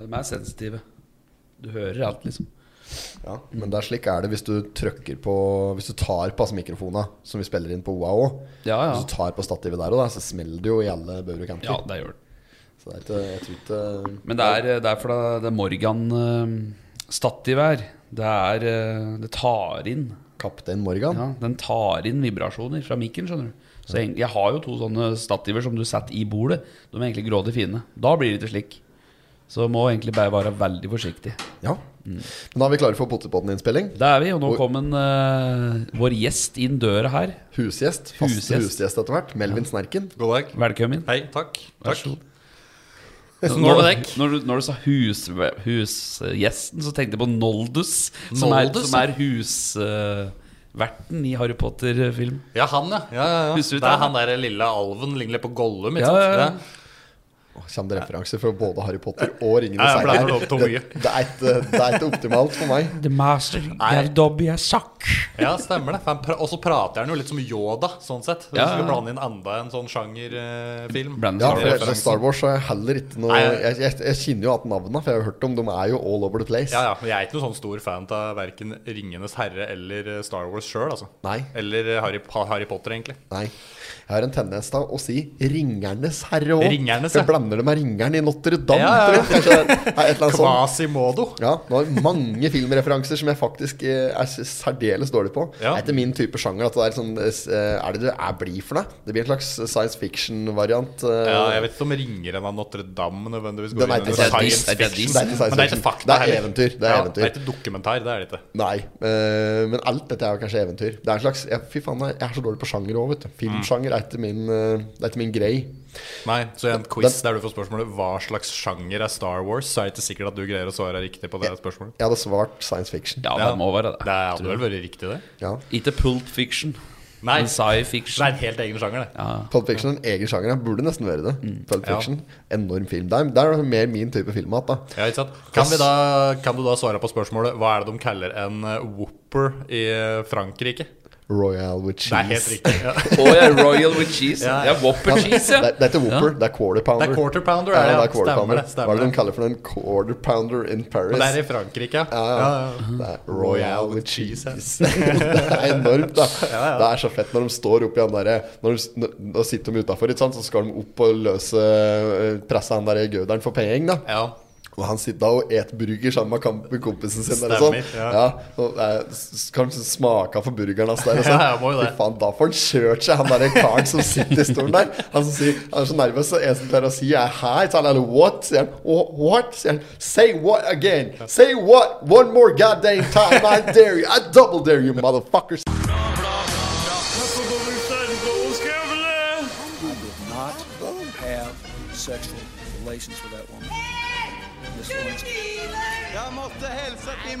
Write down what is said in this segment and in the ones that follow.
De er sensitive. Du hører alt, liksom. Ja, men det er slik er det hvis du trykker på Hvis du tar på altså, mikrofonene som vi spiller inn på OA òg. Ja, ja. Hvis du tar på stativet der òg, så smeller det jo i alle bauger og kanter. Ja, det gjør det. Så det er ikke, eh, jeg tror ikke Men det er, det er eh, for det, det Morgan-stativær. Det er eh, Det tar inn Kaptein Morgan. ja, Den tar inn vibrasjoner fra mikken, skjønner du. Så egentlig, jeg har jo to sånne stativer som du setter i bordet. De er egentlig grådig fine. Da blir det ikke slik. Så må egentlig bare være veldig forsiktig. Ja. Men da er vi klare for Pottepotten-innspilling. Det er vi, og nå Hvor- kom en, eh, vår gjest inn døra her. Husgjest. Faste Husgjest. husgjest, etter hvert. Melvin Snerken. God dag. Velkommen. Hei, takk. Vær takk. så god. Så nå er det dekk. Når, du, når du sa hus- husgjesten, så tenkte jeg på Noldus, som er, Noldus, som er husverten i Harry Potter-film. Ja, han, ja. ja, ja, ja. Husker du Det er det? han der lille alven, ligner litt på Gollum. Ikke Ja, sant? ja, ja. Åh, Kommer det referanser fra både Harry Potter og Ringenes Ja, jeg ble herre? forlovet for Det, mye. det, er ikke- det er ikke optimalt for meg. The master Gardobi er sakk. Ja. ja, stemmer det. For han pra- Og så prater han jo litt som Yoda, sånn sett. Hvis Ja, du skal ja. blande inn enda en sånn sjangerfilm. Ja, Brandon for Star jeg- Wars. for Star Wars har jeg heller ikke noe Nei. jeg, jeg, jeg kjenner jo at navnene, for jeg har hørt om dem er jo all over the place. Ja, ja. Men jeg er ikke noen sånn stor fan av verken 'Ringenes herre' eller eh, Star Wars sjøl, altså. Nei. Eller eh, Harry, Pa- Harry Potter, egentlig. Nei. Jeg har en tendens til å si 'Ringernes herre' òg. Ringernes, Jeg ja. blander det med 'Ringeren i Notre Dame'. Ja, tror ja, ja. jeg. Kanskje det er- sånn- er et eller annet sånt. Quasimodo. Ja, nå har jeg mange filmreferanser som jeg faktisk eh, er s- særdeles dårlig på. Det Ja. er ikke min type sjanger. At det er, sånn, eh, s- eh, er det det er blir for noe? Det blir en slags science fiction-variant. eh, Ja, jeg vet ikke om 'Ringeren av Notre-Dame' nødvendigvis går Den er inn ikke under science science fiction. fiction. Det er ikke science Men det er fiction. ikke fakta Det er heller. eventyr, det er Ja, eventyr. Det er ikke dokumentar, det er det ikke. Nei, eh, men alt dette er jo kanskje eventyr. Det er en slags, jeg, Fy faen, jeg er så dårlig på sjanger òg, Mm. vet du. Filmsjanger er ikke min, eh, det er ikke min grei. Nei, så i en quiz der du får spørsmålet Hva slags sjanger er Star Wars, så er det ikke sikkert at du greier å svare riktig på det spørsmålet. Jeg hadde svart science fiction. Ja, det må være Det det. hadde vel vært riktig, det? Ja. Ikke Pulp Fiction. Nei, Men det Sci-fiction. er en helt egen sjanger, det. Pulp Fiction er en egen sjanger. Jeg burde nesten være det. Pulp Ja. Fiction, Enorm film. Det er, det er mer min type film igjen, da. Ja, ikke sant? Kan, vi da, kan du da svare på spørsmålet Hva er det de kaller en eh, whopper i Frankrike? Royal with cheese. Det er helt riktig. Ja. Å ja, Royal with cheese. Ja. Ja, Whopper cheese, Det, ja. det er ikke Whopper, det er Quarter Pounder. Det er quarter pounder, Ja, er det, det ja. er quarter Stemmer pounder. det, stemmer Hva er det det. de kaller for den? Quarter Pounder in Paris. Og det er i Frankrike, ja. ja, ja. Det er Royal with cheese. det er enormt, da. Det er så fett når de står oppi han derre Når de når- når sitter de utafor, så skal de opp og løse eh, presse han derre gøderen for penger, da. ja. Og han sitter da og et burger sammen med kamp- med kompisen sin. Eller sånn. Stemmer, ja. ja. og, eh, s- Kanskje smaka for burgeren hans der. Og sånn. Ja, ja, må jo det. Fy faen, da får han kjørt seg, han derre karen som sitter i stolen der. Han, som sier, han er så nervøs, og en som klarer å si er hei, så han er sånn, what? Sier han, «Wha- what? Sier han, say what again? Say what? One more goddamn time, I dare you, I double dare you, motherfuckers. not have sexual relations with that woman. Miss Lewinsky. Jeg måtte hilse til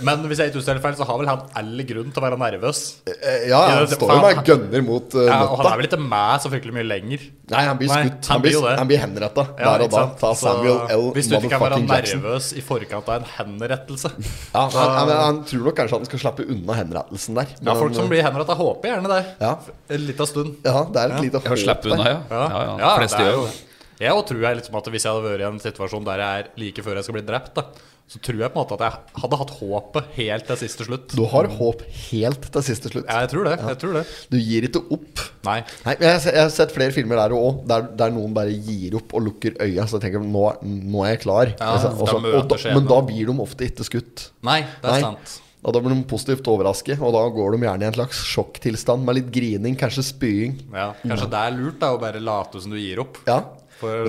Men hvis jeg ikke husker helt feil, så har vel han all grunn til å være nervøs. Eh, Ja, han Ja, det- står jo faen, med gønner mot eh, Ja, og han er nøtta. vel ikke med så fryktelig mye lenger. Nei, han blir Nei, skutt. han Han blir, blir jo det. han blir henretta Ja, der og ikke da. sant? Ta Så Samuel L. Hvis du ikke kan være motherfucking Jackson. nervøs i forkant av en henrettelse Ja, han, han, han tror nok kanskje at han skal slappe unna henrettelsen der. Ja, folk som han- blir henretta, håper gjerne det. eh, Ja. En liten stund. ja, det er et lite Ja, Slipp unna, ja. Ja, ja. De fleste det er gjør jo det. Jeg også tror jeg liksom at Hvis jeg hadde vært i en situasjon der jeg er like før jeg skal bli drept, da, så tror jeg på en måte at jeg hadde hatt håpet helt til siste slutt. Du har håp helt til siste slutt. Ja, jeg tror det. jeg tror det Du gir ikke opp. Nei. Nei, men jeg, har se- jeg har sett flere filmer der òg, der, der noen bare gir opp og lukker øya. Så jeg tenker nå, nå er jeg klar. Ja, Altså, og da så- møter og da, skjebnen. men da blir de ofte ikke skutt. Nei, det er sant. Og da blir de positivt overrasket, og da går de gjerne i en slags sjokktilstand med litt grining, kanskje spying. Ja, kanskje det er lurt da å bare late som du gir opp. Ja. For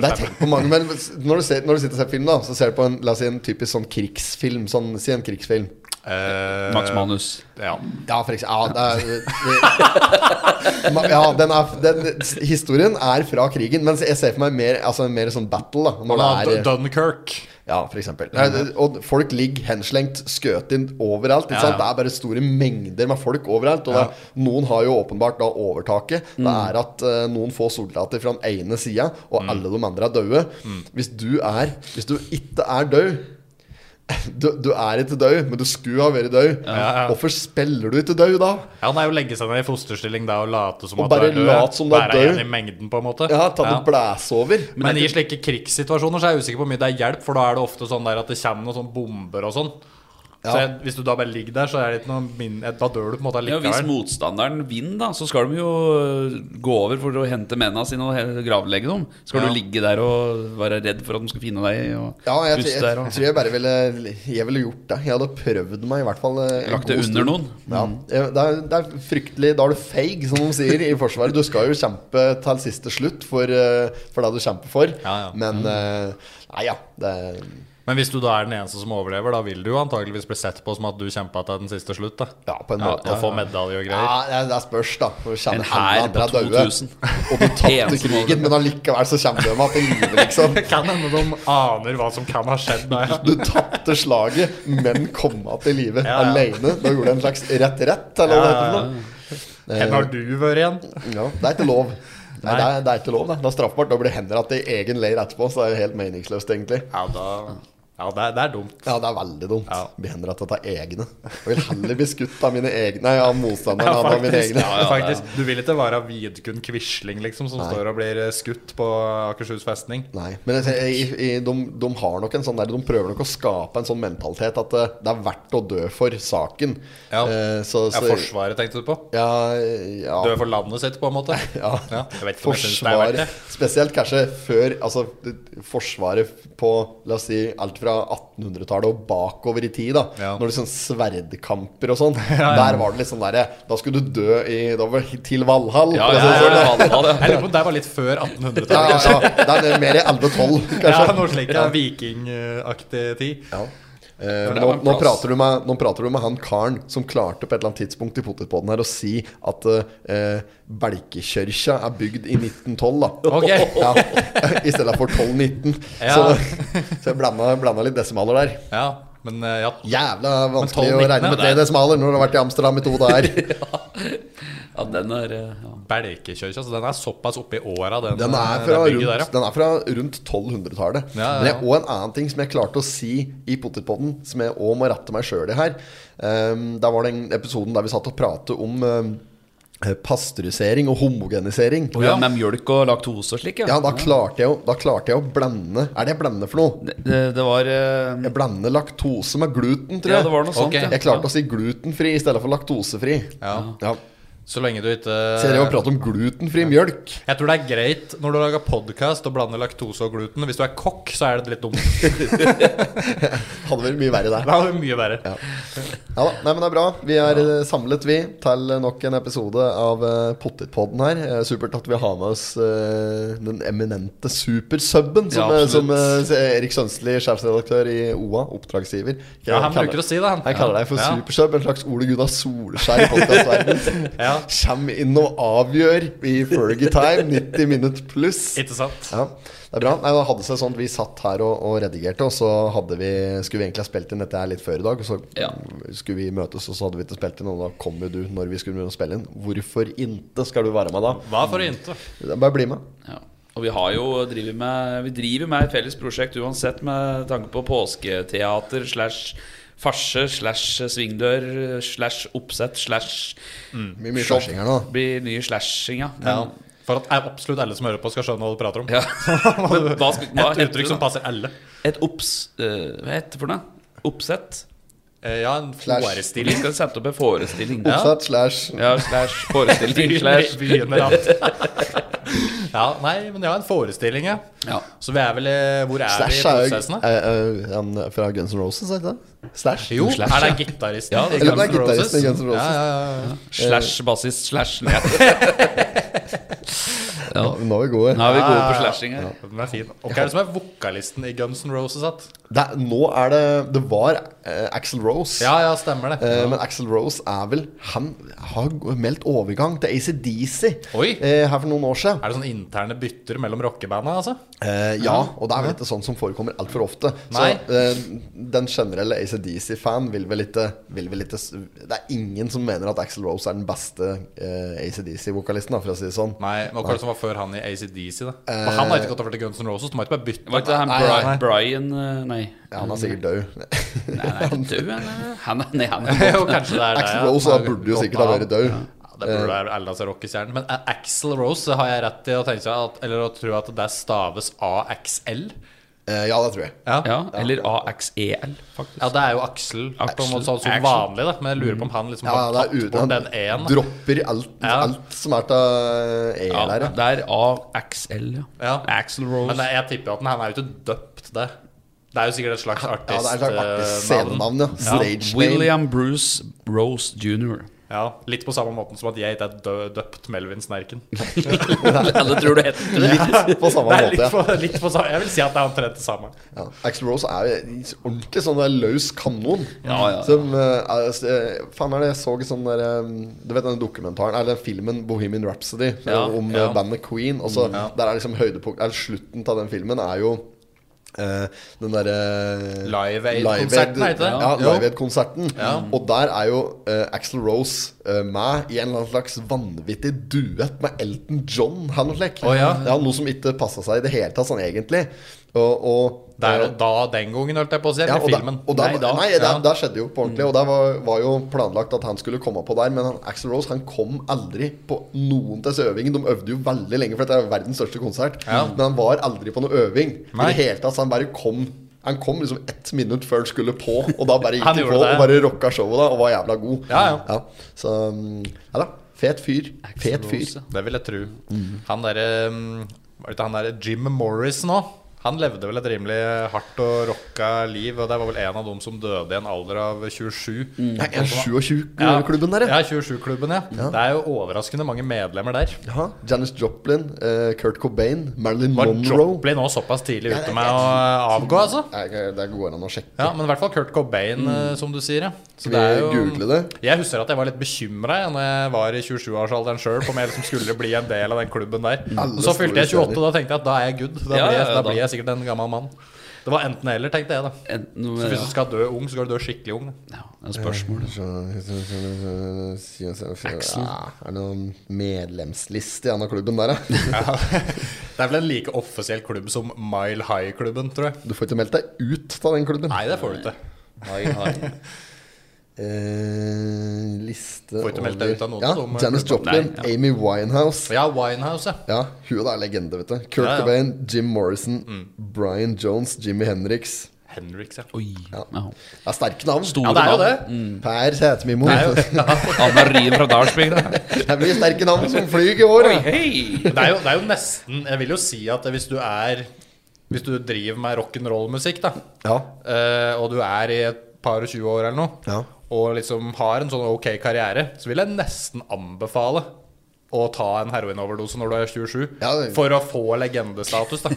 Men det er tenkt på mange men når du, ser, når du sitter og ser film, da, så ser du på en, la oss si en typisk sånn krigsfilm. Sånn, si en krigsfilm. Eh, Max Manus. Ja. Ja, for eksempel. Ja, det er, det, Ma- ja den er, den, historien er fra krigen, mens jeg ser for meg mer, altså, mer sånn battle. da Når Dun- det er Dunkirk. Ja, for eksempel. Nei, det, og folk ligger henslengt, skøt inn overalt. Ikke Ja, sant? ja. Det er bare store mengder med folk overalt. Og det, er- noen har jo åpenbart da overtaket. Det Mm. er at eh, noen få soldater fra den ene Mm. sida, og alle de andre er døde. Hvis du er Hvis du ikke er død Du, du er ikke død, men du skulle ha vært død. Ja, ja. Hvorfor spiller du ikke død da? Ja, Han er jo legge seg ned i fosterstilling der og late som Og at du bare er død. late som du er Være død. igjen i mengden, på en måte. Ja, tatt Ja. og blæs over. Men, i slike krigssituasjoner så er jeg usikker på hvor mye det er hjelp, for da er det ofte sånn der at det kommer noen sånne bomber og sånn. Så jeg, hvis du da bare ligger der, så er det ikke noe min... Da dør du på en måte Ja, hvis likevel. motstanderen vinner, da, så skal de jo øh, gå over for å hente mennene sine og he- gravlegge dem. Skal Ja. du ligge der og være redd for at de skal finne deg og Ja, jeg, jeg, puste jeg, der og tror jeg bare ville Jeg ville gjort det. Jeg hadde prøvd meg, i hvert fall. eh, en Lagt det god under stund. noen. Ja, jeg- det, er, det er fryktelig Da er du feig, som de sier i Forsvaret. Du skal jo kjempe til siste slutt for, eh, for det du kjemper for. Ja, ja. Men eh, Nei, ja. Det er, Men hvis du da er den eneste som overlever, da vil du jo antageligvis bli sett på som at du kjempa til den siste slutt, da. ja, på en Ja, måte. og få medalje og greier. Ja, det, det spørs, da. Når du En kjenner hær hendene på andre er døde. 2000. Og du tapte Eneste krigen, men allikevel så kommer de igjen til live, liksom. Kan hende de aner hva som kan ha skjedd der. Du tapte slaget, men kom igjen til live Ja, ja. alene. Da gjorde du en slags rett-rett, eller hva det heter. for noe. Eh. Hvor har du vært igjen? Ja, det er ikke lov. Nei, Nei. det er, det er ikke lov, det. Det er straffbart. Da blir det henrettet i egen leir etterpå, så det er jo helt meningsløst, egentlig. Ja, da Ja, det er, det er dumt. Ja, det er veldig dumt. Ja. Bli henrettet av egne. Jeg vil heller bli skutt av mine egne Nei, av motstanderen enn av mine faktisk, egne. ja, det er- faktisk. Du vil ikke være Vidkun Quisling, liksom, som står og blir eh, skutt på Akershus festning? Nei, men jeg, tenker- i, i, de, de har nok en sånn der De prøver nok å skape en sånn mentalitet at eh, det er verdt å dø for saken. Ja. Eh, så, Ja, så, Forsvaret, tenkte du på? ja, ja. Dø for landet sitt, på en måte? Ja. Jeg vet ikke om jeg synes det er Forsvaret. verdt det. Spesielt kanskje før Altså det- Forsvaret på La oss si alt fra 1800-tallet og bakover i tid. da Ja. Når det sånn sverdkamper og sånn. ja. Der var det litt sånn derre Da skulle du dø i da var det til Valhall. Ja, for å si ja, ja, det ja, sånn. ja, ja. Jeg lurer på om det var litt før 1800-tallet. Ja, ja, ja. Det er mer i 1112, Ja, kanskje. noe slikt. ja, Vikingaktig tid. Ja. Eh, For det nå, var en nå, plass. prater du med, nå prater du med han karen som klarte på et eller annet tidspunkt i potetpodden her å si at eh, Belkekjørkja er bygd i 1912, da. Ok. Ja, I stedet for 1219. Ja. Så, så jeg blanda, blanda litt desimaler der. Ja, men eh, ja. Jævla vanskelig 1219, å regne med ja, tre det er- desimaler når du har vært i Amsterdam i to dager. Ja, den er eh, ja. Belkekjørkja, så altså, den er såpass oppi åra, den, Den er eh, fra det bygget der, rundt, ja. den er fra rundt 1200-tallet. Ja, ja, Men det ja. er også en annen ting som jeg klarte å si i Potetpodden, som jeg òg må rette meg sjøl i her. Um, der var den episoden der vi satt og pratet om um, pasteurisering og homogenisering. Og ja, Med mjølk og laktose og slik, Ja, da klarte jeg jo Da klarte jeg å blande Er det blende for noe? Det, det- det var eh, Jeg blander laktose med gluten, tror jeg. Ja, det var noe sånt, Ok. ja. Jeg klarte å si glutenfri i stedet for laktosefri. Ja. Ja. Så lenge du ikke eh, Så Eh, jeg drev og pratet om glutenfri mjølk. Jeg tror det er greit når du lager podkast og blander laktose og gluten. Hvis du er kokk, så er det litt dumt. Hadde vært mye verre der. Da er det mye verre. Ja da, nei, men det er bra. Vi er eh, samlet, vi, til nok en episode av eh, Pottitpodden her. Eh, Supert at vi har med oss eh, den eminente supersubben, som, Ja, eh, absolutt. som eh, Erik Sønstli, sjefsredaktør i OA, oppdragsgiver Ja, han kaller- bruker å si det, han. Han kaller deg for Ja. supersub, en slags Ole Gunnar Solskjær i podkastverdenen. Ja. Kjem inn og avgjør i Fergie Time, 90 minutt pluss. Ikke sant? Ja, det er bra. Nei, det hadde seg sånn at Vi satt her og, og redigerte, og så hadde vi, skulle vi egentlig ha spilt inn dette her litt før i dag. Og så Ja. skulle vi møtes, og så hadde vi ikke spilt inn, og da kom jo du når vi skulle begynne å spille inn. Hvorfor inte skal du være med da? Hva for inte? Bare bli med. Ja. Og vi har jo drivet med Vi driver med et felles prosjekt uansett, med tanke på påsketeater slash farse slash svingdør slash oppsett slash Mye, mye slashing her nå. Blir nye slashing, ja. Mm. Ja. Men, For at absolutt alle som hører på, skal skjønne hva du prater om. ja. Men hva, skal, hva Et heter uttrykk det som da? passer alle. Et obs... eh, hva heter det for noe? Oppsett? Eh, Ja, en Flash. Vi forestilling. skal sette opp en forestilling. Ja, Oppsett slash slash forestilling slash Begynner alt. Ja, nei, men ja, en forestilling, ja. Ja. Så vi er vel i- Hvor er vi i Slash er jo prosessen, da? eh, eh, han fra Guns N' Roses, er det ikke det? Slash? Jo, Slash, er det ja. gitaristen? Ja, i det Eller det er Guns N' Roses? gitaristen i Guns N' Roses. Ja, ja, ja, ja. slash bassist slash ja. Ja, Nå er vi gode. Nå er vi gode på slashing her. Den er fin. Og hva er det som er vokalisten i Guns N' Roses? At? Det, er- nå er det Det var eh, Axl Rose. Ja, ja, stemmer det. Eh, Men Axel Rose er vel Han har g- meldt overgang til ACDC Oi. eh, her for noen år siden. Er det sånn interne bytter mellom rockebanda, altså? Eh, ja, og det er vel ikke sånn som forekommer altfor ofte. Nei. Så eh, den generelle ACDC-fan vil vel ikke vil vel ikke s- Det er ingen som mener at Axel Rose er den beste eh, ACDC-vokalisten, for å si det sånn. Nei, men hva var det som var før han i ACDC, da? Eh, For han har ikke gått over til Guns N' Roses. De har ikke bare bytta Var ikke det han Nei, nei, Bri- nei. Brian eh, Nei. Ja, han er sikkert død. Nei, han er ikke død, eller? han er, nei, han er Jo, kanskje det er det. Axl ja. Rose Eh. da Han har burde jo gått sikkert ha av. vært død. Ja, Det burde være Eldas rockestjerne. Men eh, Axl Rose har jeg rett til å tenke seg at, Eller å tro at det staves AXL. Eh, Ja, det tror jeg. Ja. Ja, eller AXEL, faktisk. ja, det er jo Aksel. På en Axl. måte sånn som Axl. vanlig, da. Men jeg lurer på om han liksom Ja, har det tatt er ute. bort Han den E-en. da. dropper alt, Ja. alt som er til E Ja, der, ja. det er AXL, ja. Ja. Axl Rose. Men jeg, jeg tipper at den- han er jo ikke døpt, det. Det er jo sikkert et slags eh, Ja, det er et slags artig artistnavn. scenenavn, ja. Stage name. William Bruce Rose jr. Ja, litt på samme måten som at jeg ikke er dø- døpt Melvin Snerken. Alle tror det heter det. Litt på samme Det måte, er litt ja. for, litt for samme Jeg vil si at det er omtrent det samme. ja. Axl Rose er jo en ordentlig sånn der løs kanon. Ja, ja, ja. Som eh, er, s- eh, Faen, er det jeg så en sånn der eh, Du vet den dokumentaren Eller den filmen 'Bohemian Rhapsody' eh, Ja, om ja. eh, bandet Queen. Og så Der er liksom høydepunkt Eller slutten av den filmen er jo eh, den derre Live Aid-konserten, er det ikke det? Ja, Jo. Live Aid-konserten. Og der er jo uh, Axl Rose eh, med i en eller annen slags vanvittig duett med Elton John. Han og slik. Å, ja. noe som ikke passa seg i det hele tatt, sånn egentlig. Og, og Der og da, den gangen, holdt jeg på å si. Eh, ja, Eller og da- filmen. Og der, Nei, nei, da. det, Ja. Mm. det skjedde jo på ordentlig. Og det var, var jo planlagt at han skulle komme på der, men han- Axl Rose han kom aldri på noen til disse øvingene. De øvde jo veldig lenge, for dette er verdens største konsert. Men han var aldri på noen øving. Nei. I det hele tatt, så han bare kom Han kom liksom ett minutt før han skulle på, og da bare gikk Han han på gjorde det. og bare rocka showet da, og var jævla god. Ja, ja. Så mm, ja da. Fet fyr. Fet fyr. Det vil jeg tro. Mm. Han derre um, Var det ikke han derre Jim Morris nå? Han levde vel et rimelig hardt og rocka liv, og det var vel en av dem som døde i en alder av 27. Nei, 27-klubben der, Ja, 27-klubben, ja. Det er jo overraskende mange medlemmer der. ja. Janis Joplin, eh, Kurt Cobain, Marilyn Var Monroe. Joplin nå såpass tidlig det- ute med å avgå, altså? Nei, Det går an å sjekke. Ja, men i hvert fall Kurt Cobain, eh, som du sier. Ja. Så Skal vi google det? Jeg husker at jeg var litt bekymra når jeg var i 27-årsalderen sjøl, på om jeg liksom skulle bli en del av den klubben der. Alle Og så fylte jeg store 28, da tenkte jeg at da er jeg good. Da, Ja, blir, jeg, ja, ja, da da. blir jeg sikkert en gammel mann. Det var enten eller, tenkte jeg, da. Enten Så hvis du ja, skal dø ung, så skal du dø skikkelig ung. da. ja, det er Eh, spørsmål. liksom. Så- så- så- så- så- så- Ja, Er det noen medlemsliste i denne klubben der, da? Det er vel en like offisiell klubb som Mile High-klubben, tror jeg. Du får ikke meldt deg ut av den klubben. Nei, det får du ikke. Eh, liste Får ikke meldt deg ut av noen ja, av dem, Janis klubben. Joplin, Nei, ja. Amy Winehouse. Ja, Winehouse, ja. Ja, hun er legende, vet du. Kurt Ja, Mm. ja. Cobain, Jim Morrison, Brian Jones, Jimmy Henriks. Henriks, ja. Oi. Ja. Ja. Det er sterke navn. Store Ja, det er jo det. navn. Per Sætermimo. Det er jo, Anna Rien fra Dalsbygd. da. Det blir sterke navn som flyr i år. Oi, ja. hei! det er jo, det er jo nesten Jeg vil jo si at hvis du er Hvis du driver med rock'n'roll-musikk, da, Ja. eh, og du er i et par og 20 år eller noe, Ja. og liksom har en sånn ok karriere, så vil jeg nesten anbefale å ta en heroinoverdose når du er 27, Ja, det- for å få legendestatus, da.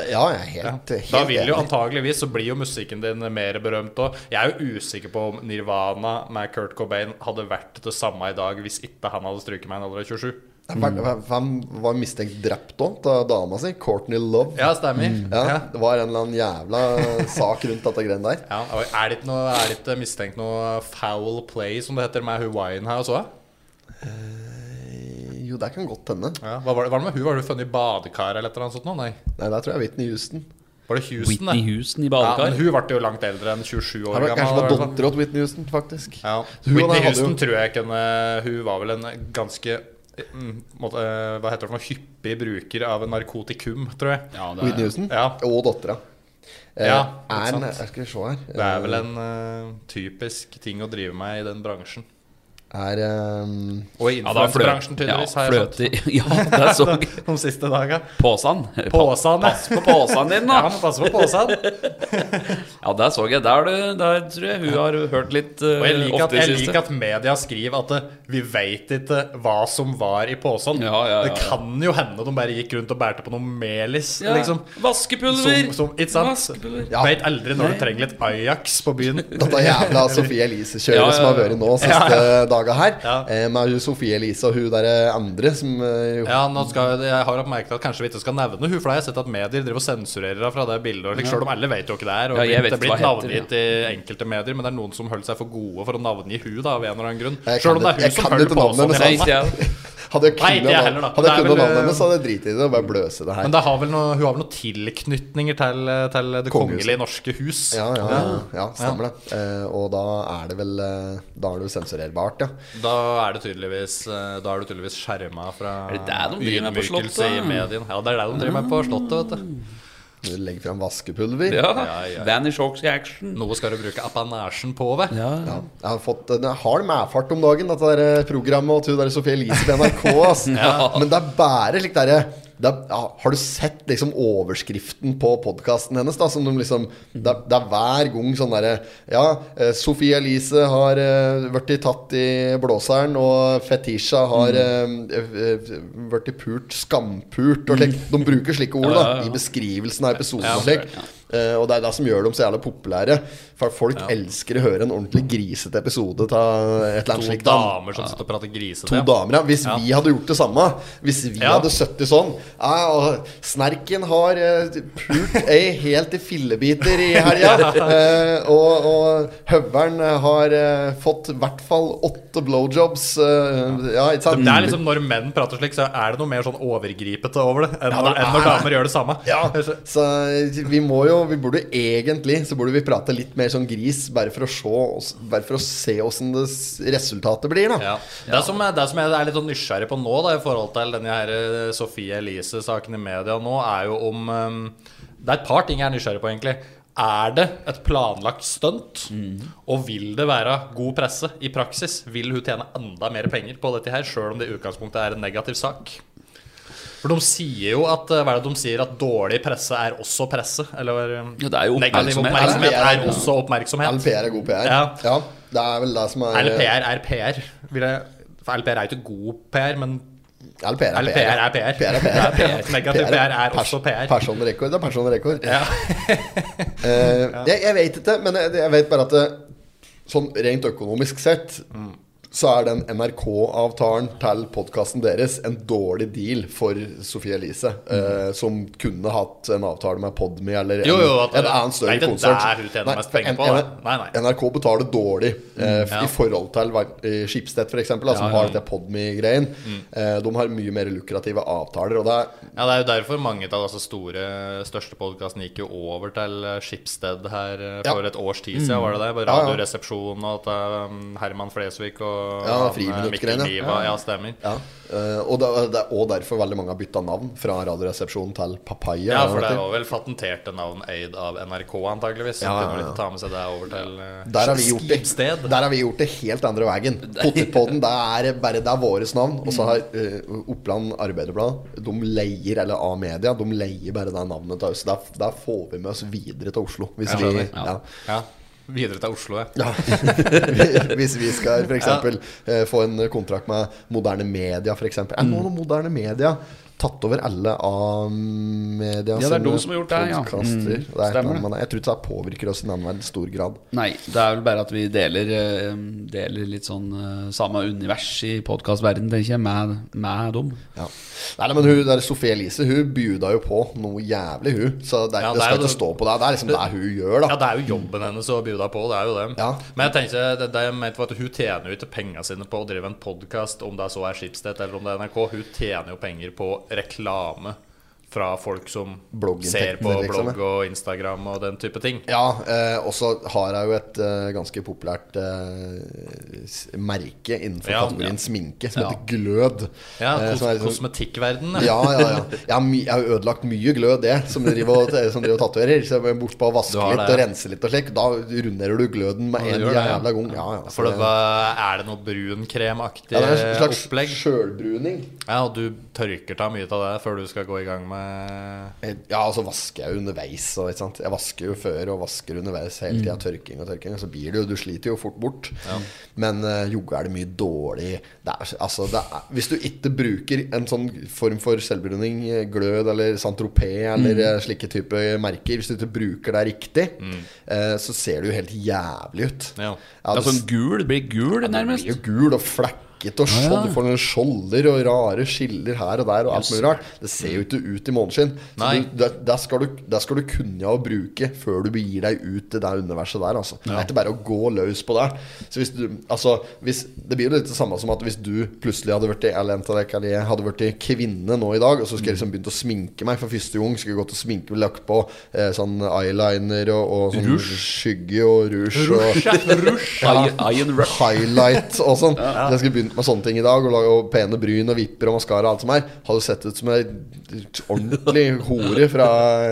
Det, ja, jeg er helt, helt Da vil jo enig. antageligvis så blir jo musikken din mer berømt òg. Jeg er jo usikker på om Nirvana med Kurt Cobain hadde vært det samme i dag hvis ikke han hadde stryket meg i en alder av 27. Hvem hvem var mistenkt drept òg, av dama si? Courtney Love. Ja, stemmer. Ja, Ja. Det var en eller annen jævla sak rundt dette greiene der. Ja, og er det ikke noe, er det ikke mistenkt noe foul play, som det heter, med hun Winehouse òg? Jo, det kan godt hende. Ja. Hva var det, var det med hun? Var det funnet i badekar eller et eller annet sånt? nå? Nei. Nei, der tror jeg Whitney Houston. Var det Houston, Whitney det? Houston i Ja, men badekar. hun ble jo langt eldre enn 27 Her år var, gammel. kanskje det var i hvert fall. dattera til Whitney Houston, faktisk. Ja. Hun hadde- hadde Whitney Houston jo- tror jeg kunne Hun var vel en ganske mm, måte, eh, Hva heter det for noe? Hyppig bruker av narkotikum, tror jeg. Ja, det Whitney er, Houston Ja. og dattera. Eh, Ja, er ikke en- sant. Skal vi se her Det er vel en eh, typisk ting å drive med i den Eh, bransjen. Er ehm, Og i ja, da flø- influensebransjen, tydeligvis. Ja, har jeg sånn. fløte Ja, det så jeg. fått De siste daga. Påsan. Påsan, ja. Pass på påsan din, Ja, da. må passe på posen. Ja, der så jeg. Der, du- der tror jeg hun har hørt litt uh, Og jeg liker, at, ofte i jeg siste. liker at media skriver at eh, vi veit ikke hva som var i posen. Ja, ja, ja. Det kan jo hende de bare gikk rundt og bærte på noe melis. ja. Liksom. Vaskepulver! Som, som, ikke sant? Vaskepulver. Ja. Veit aldri når du trenger litt Ajax på byen. dette jævla Sofie Elise-kjøret Ja, ja, ja. som har vært nå siste daga her. Ja. Eh, med hun Sofie Elise og hun derre andre som eh, jo- Ja, nå skal, jeg har oppmerket at kanskje vi ikke skal nevne hun, for da har jeg sett at medier driver og sensurerer henne fra det bildet. og Liksom, Selv om alle vet jo ikke det er. Og Ja, jeg det vet er blitt hva heter, navngitt i enkelte medier, men det er noen som holder seg for gode for å navngi hun da, av en eller annen grunn. Jeg kan Selv om det ikke- er jeg hun som kan holder sånn. ikke navnet, altså. posen men i Nei, landet. ikke jeg. Hadde jeg Nei, ikke kunnet jeg navn- heller, da. hadde jeg Det er kunnet vel, navnet hennes, eh, hadde jeg driti i det og bare bløse det her. Men det har vel noe, hun har vel noen tilknytninger til, til det Kongehuset. kongelige norske hus? Ja, ja, ja, ja stemmer det. Eh, og da er det vel eh, Da er det jo sensurerbart, ja. Da er det tydeligvis eh, Da er du tydeligvis skjerma fra Er det der de driver med på ydmykelse slottet? i medien. Ja, det er det de driver med på Slottet, vet du. Du legger fram vaskepulver. Ja, Ja, ja. Vanish Hawks i action. Noe skal du bruke apanasjen på, vet du. Ja, ja. Ja, jeg har fått jeg har det medfart om dagen, dette der eh, programmet og hun der Sofie Elise på NRK. Ass. Men det er bare slik derre det er, ja, Har du sett liksom overskriften på podkasten hennes? da, som de liksom, det, er- det er hver gang sånn derre Ja, eh, Sofie Elise har eh, vært i tatt i blåseren, og Fetisha har mm. vært i pult, skampult og slik. De bruker slike ord da, Mm. ja, ja. i beskrivelsen av episoden. og slik. Eh, og det er det som gjør dem så jævla populære. For folk elsker å høre en ordentlig grisete episode av et eller annet To slikt. da. damer som sitter og prater To grisete. damer, ja. Hvis vi hadde gjort det samme, hvis vi Ja. hadde sittet sånn ja, og Snerken har eh, pult ei helt i fillebiter i helga. eh, og og høveren har eh, fått i hvert fall åtte blowjobs. Eh, ja, ikke sant? Det er liksom Når menn prater slik, så er det noe mer sånn overgripete over det enn, når, enn når damer gjør det samme. Ja, Så- så eh, vi må jo Vi burde egentlig Så burde vi prate litt mer sånn gris, bare for å se Bare for å se åssen det s- resultatet blir, da. Ja. Det, som, er- det som jeg er litt sånn nysgjerrig på nå, da, i forhold til denne her eh, Sofie Elise-saken i media nå, er jo om eh, Det er et par ting jeg er nysgjerrig på, egentlig. Er det et planlagt stunt? Mhm. Og vil det være god presse i praksis? Vil hun tjene enda mer penger på dette her, sjøl om det i utgangspunktet er en negativ sak? For de sier jo at eh, Hva er det de sier? At dårlig presse er også presse? Eller eh, Ja, det er jo negativ oppmerksomhet. oppmerksomhet LPR, er også oppmerksomhet? LPR er god PR. Ja. Det er vel det som er LPR er PR. Vil jeg, for LPR er jo ikke god PR, men LPR er LPR er PR. PR er PR. Det er PR. Negativ PR er også PR. Personrekord det er personrekord. Ja. Eh, jeg, jeg vet ikke, men jeg, jeg vet bare at det, sånn rent økonomisk sett så er den NRK-avtalen til podkasten deres en dårlig deal for Sofie Elise, eh, som kunne hatt en avtale med Podme eller Jo, jo, en, at- en annen Nei, større det er konsert. der hun tjener mest penger en- på, da. en- Nei, nei. NRK betaler dårlig eh, Ja. i forhold til eh, Schibsted, f.eks., som har dette Podme-greien. Mm. Eh, de har mye mer lukrative avtaler, og det er ja, det er jo derfor mange av disse store, største podkastene gikk jo over til eh, Schibsted her eh, Ja. Mm. for et års tid siden, var det det? Bare Ja, ja. Radioresepsjonen og at eh, Herman Flesvig og Ja, han, eh, friminuttgreiene. Mikkel Ja, Niva Ja, stemmer. Ja, eh, og det, det er også derfor veldig mange har bytta navn fra Radioresepsjonen til Papaya. Ja, for eller det noe var vel patenterte navn eid av NRK, antageligvis. Så Ja, ja, kunne vel ja. ikke ta med seg det over til eh, Der har, vi gjort det, Schibsted. der har vi gjort det helt andre veien. Potetpodden, det er bare det er våres navn. Og så har eh, Oppland Arbeiderblad De leier, eller A-media, de leier bare det navnet til oss. Der, der får vi med oss videre til Oslo. Hvis, Jeg vi, skjønner, ja. ja. Ja. Videre til Oslo, ja. Ja. hvis vi skal f.eks. Eh, få en kontrakt med moderne media, f.eks. Er nå noe Mm. moderne media tatt over alle A-media Ja, det er de som har gjort det, ja. Mm, stemmer det. Jeg tror ikke det påvirker oss i nevneverdig stor grad. Nei, det er vel bare at vi deler, eh, deler litt sånn eh, samme univers i podkastverdenen, tenker jeg, med, med dem. Ja. Nei, nei, men hun, der Sofie Elise Hun bjuda jo på noe jævlig, hun. Så det, Ja, det det er skal jo ikke det- stå på det. Det er liksom det hun gjør, Ja, da. det er jo jobben hennes å bjuda på, det er jo det. Ja. Men jeg tenker, det, det jeg mente var at hun tjener jo ikke penga sine på å drive en podkast, om det så er Schibsted eller om det er NRK. Hun tjener jo penger på reklame fra folk som Blogginntektene, ser på liksom, blogg og Instagram og den type ting. Ja, eh, og så har hun jo et eh, ganske populært eh, s- merke innenfor Ja, kategorien sminke som Ja. heter Glød. Ja, Eh, kos som er liksom- kosmetikkverdenen. Ja, ja, ja. Jeg har, my jeg har ødelagt mye glød, det, som driver og, som driver og tatoverer. Så jeg må bort på å vaske Du har litt det, og ja. rense litt og slik. Da runderer du gløden med Ja, du en gjør det, ja. jævla gang. Ja, ja. For det, Så- var- er det noe brunkremaktig ja, det er en slags opplegg? sjølbruning. Ja, og du tørker ta mye av det før du skal gå i gang med Eh, Ja, og så vasker jeg jo underveis. Og, ikke sant? Jeg vasker jo før og vasker underveis hele tida. Tørking og tørking. Og så blir det jo Du sliter jo fort bort. Men uh, jogge er det mye dårlig det er, altså, det er, Hvis du ikke bruker en sånn form for selvbruning, eh, glød eller Saint-Tropez eller eh, slike type merker, hvis du ikke bruker det riktig, eh, så ser det jo helt jævlig ut. Ja. altså Ja, det, sånn gul blir gul, det nærmest. blir jo gul og flekker prikkete og skjold. Du får noen skjolder og rare skiller her og der og alt mulig rart. Det ser jo ikke ut i måneskinn. Så Nei. du, der, der, skal du, der skal du kunne å bruke før du begir deg ut til det universet der. Altså. Det er ikke bare å gå løs på det. Så hvis du, altså, hvis, det blir jo litt det samme som at hvis du plutselig hadde vært eller en av dere, eller jeg, hadde vært kvinne nå i dag, og så skulle jeg liksom begynt å sminke meg for første gang, skulle jeg gått og sminke meg, lagt på eh, sånn eyeliner og, og sånn skygge og rouge og Iron Rush. highlight og sånn. Hvis Jeg skulle begynt med sånne ting i dag, og lage og pene bryn og vipper og maskara og alt som er. Hadde sett ut som ei ordentlig hore fra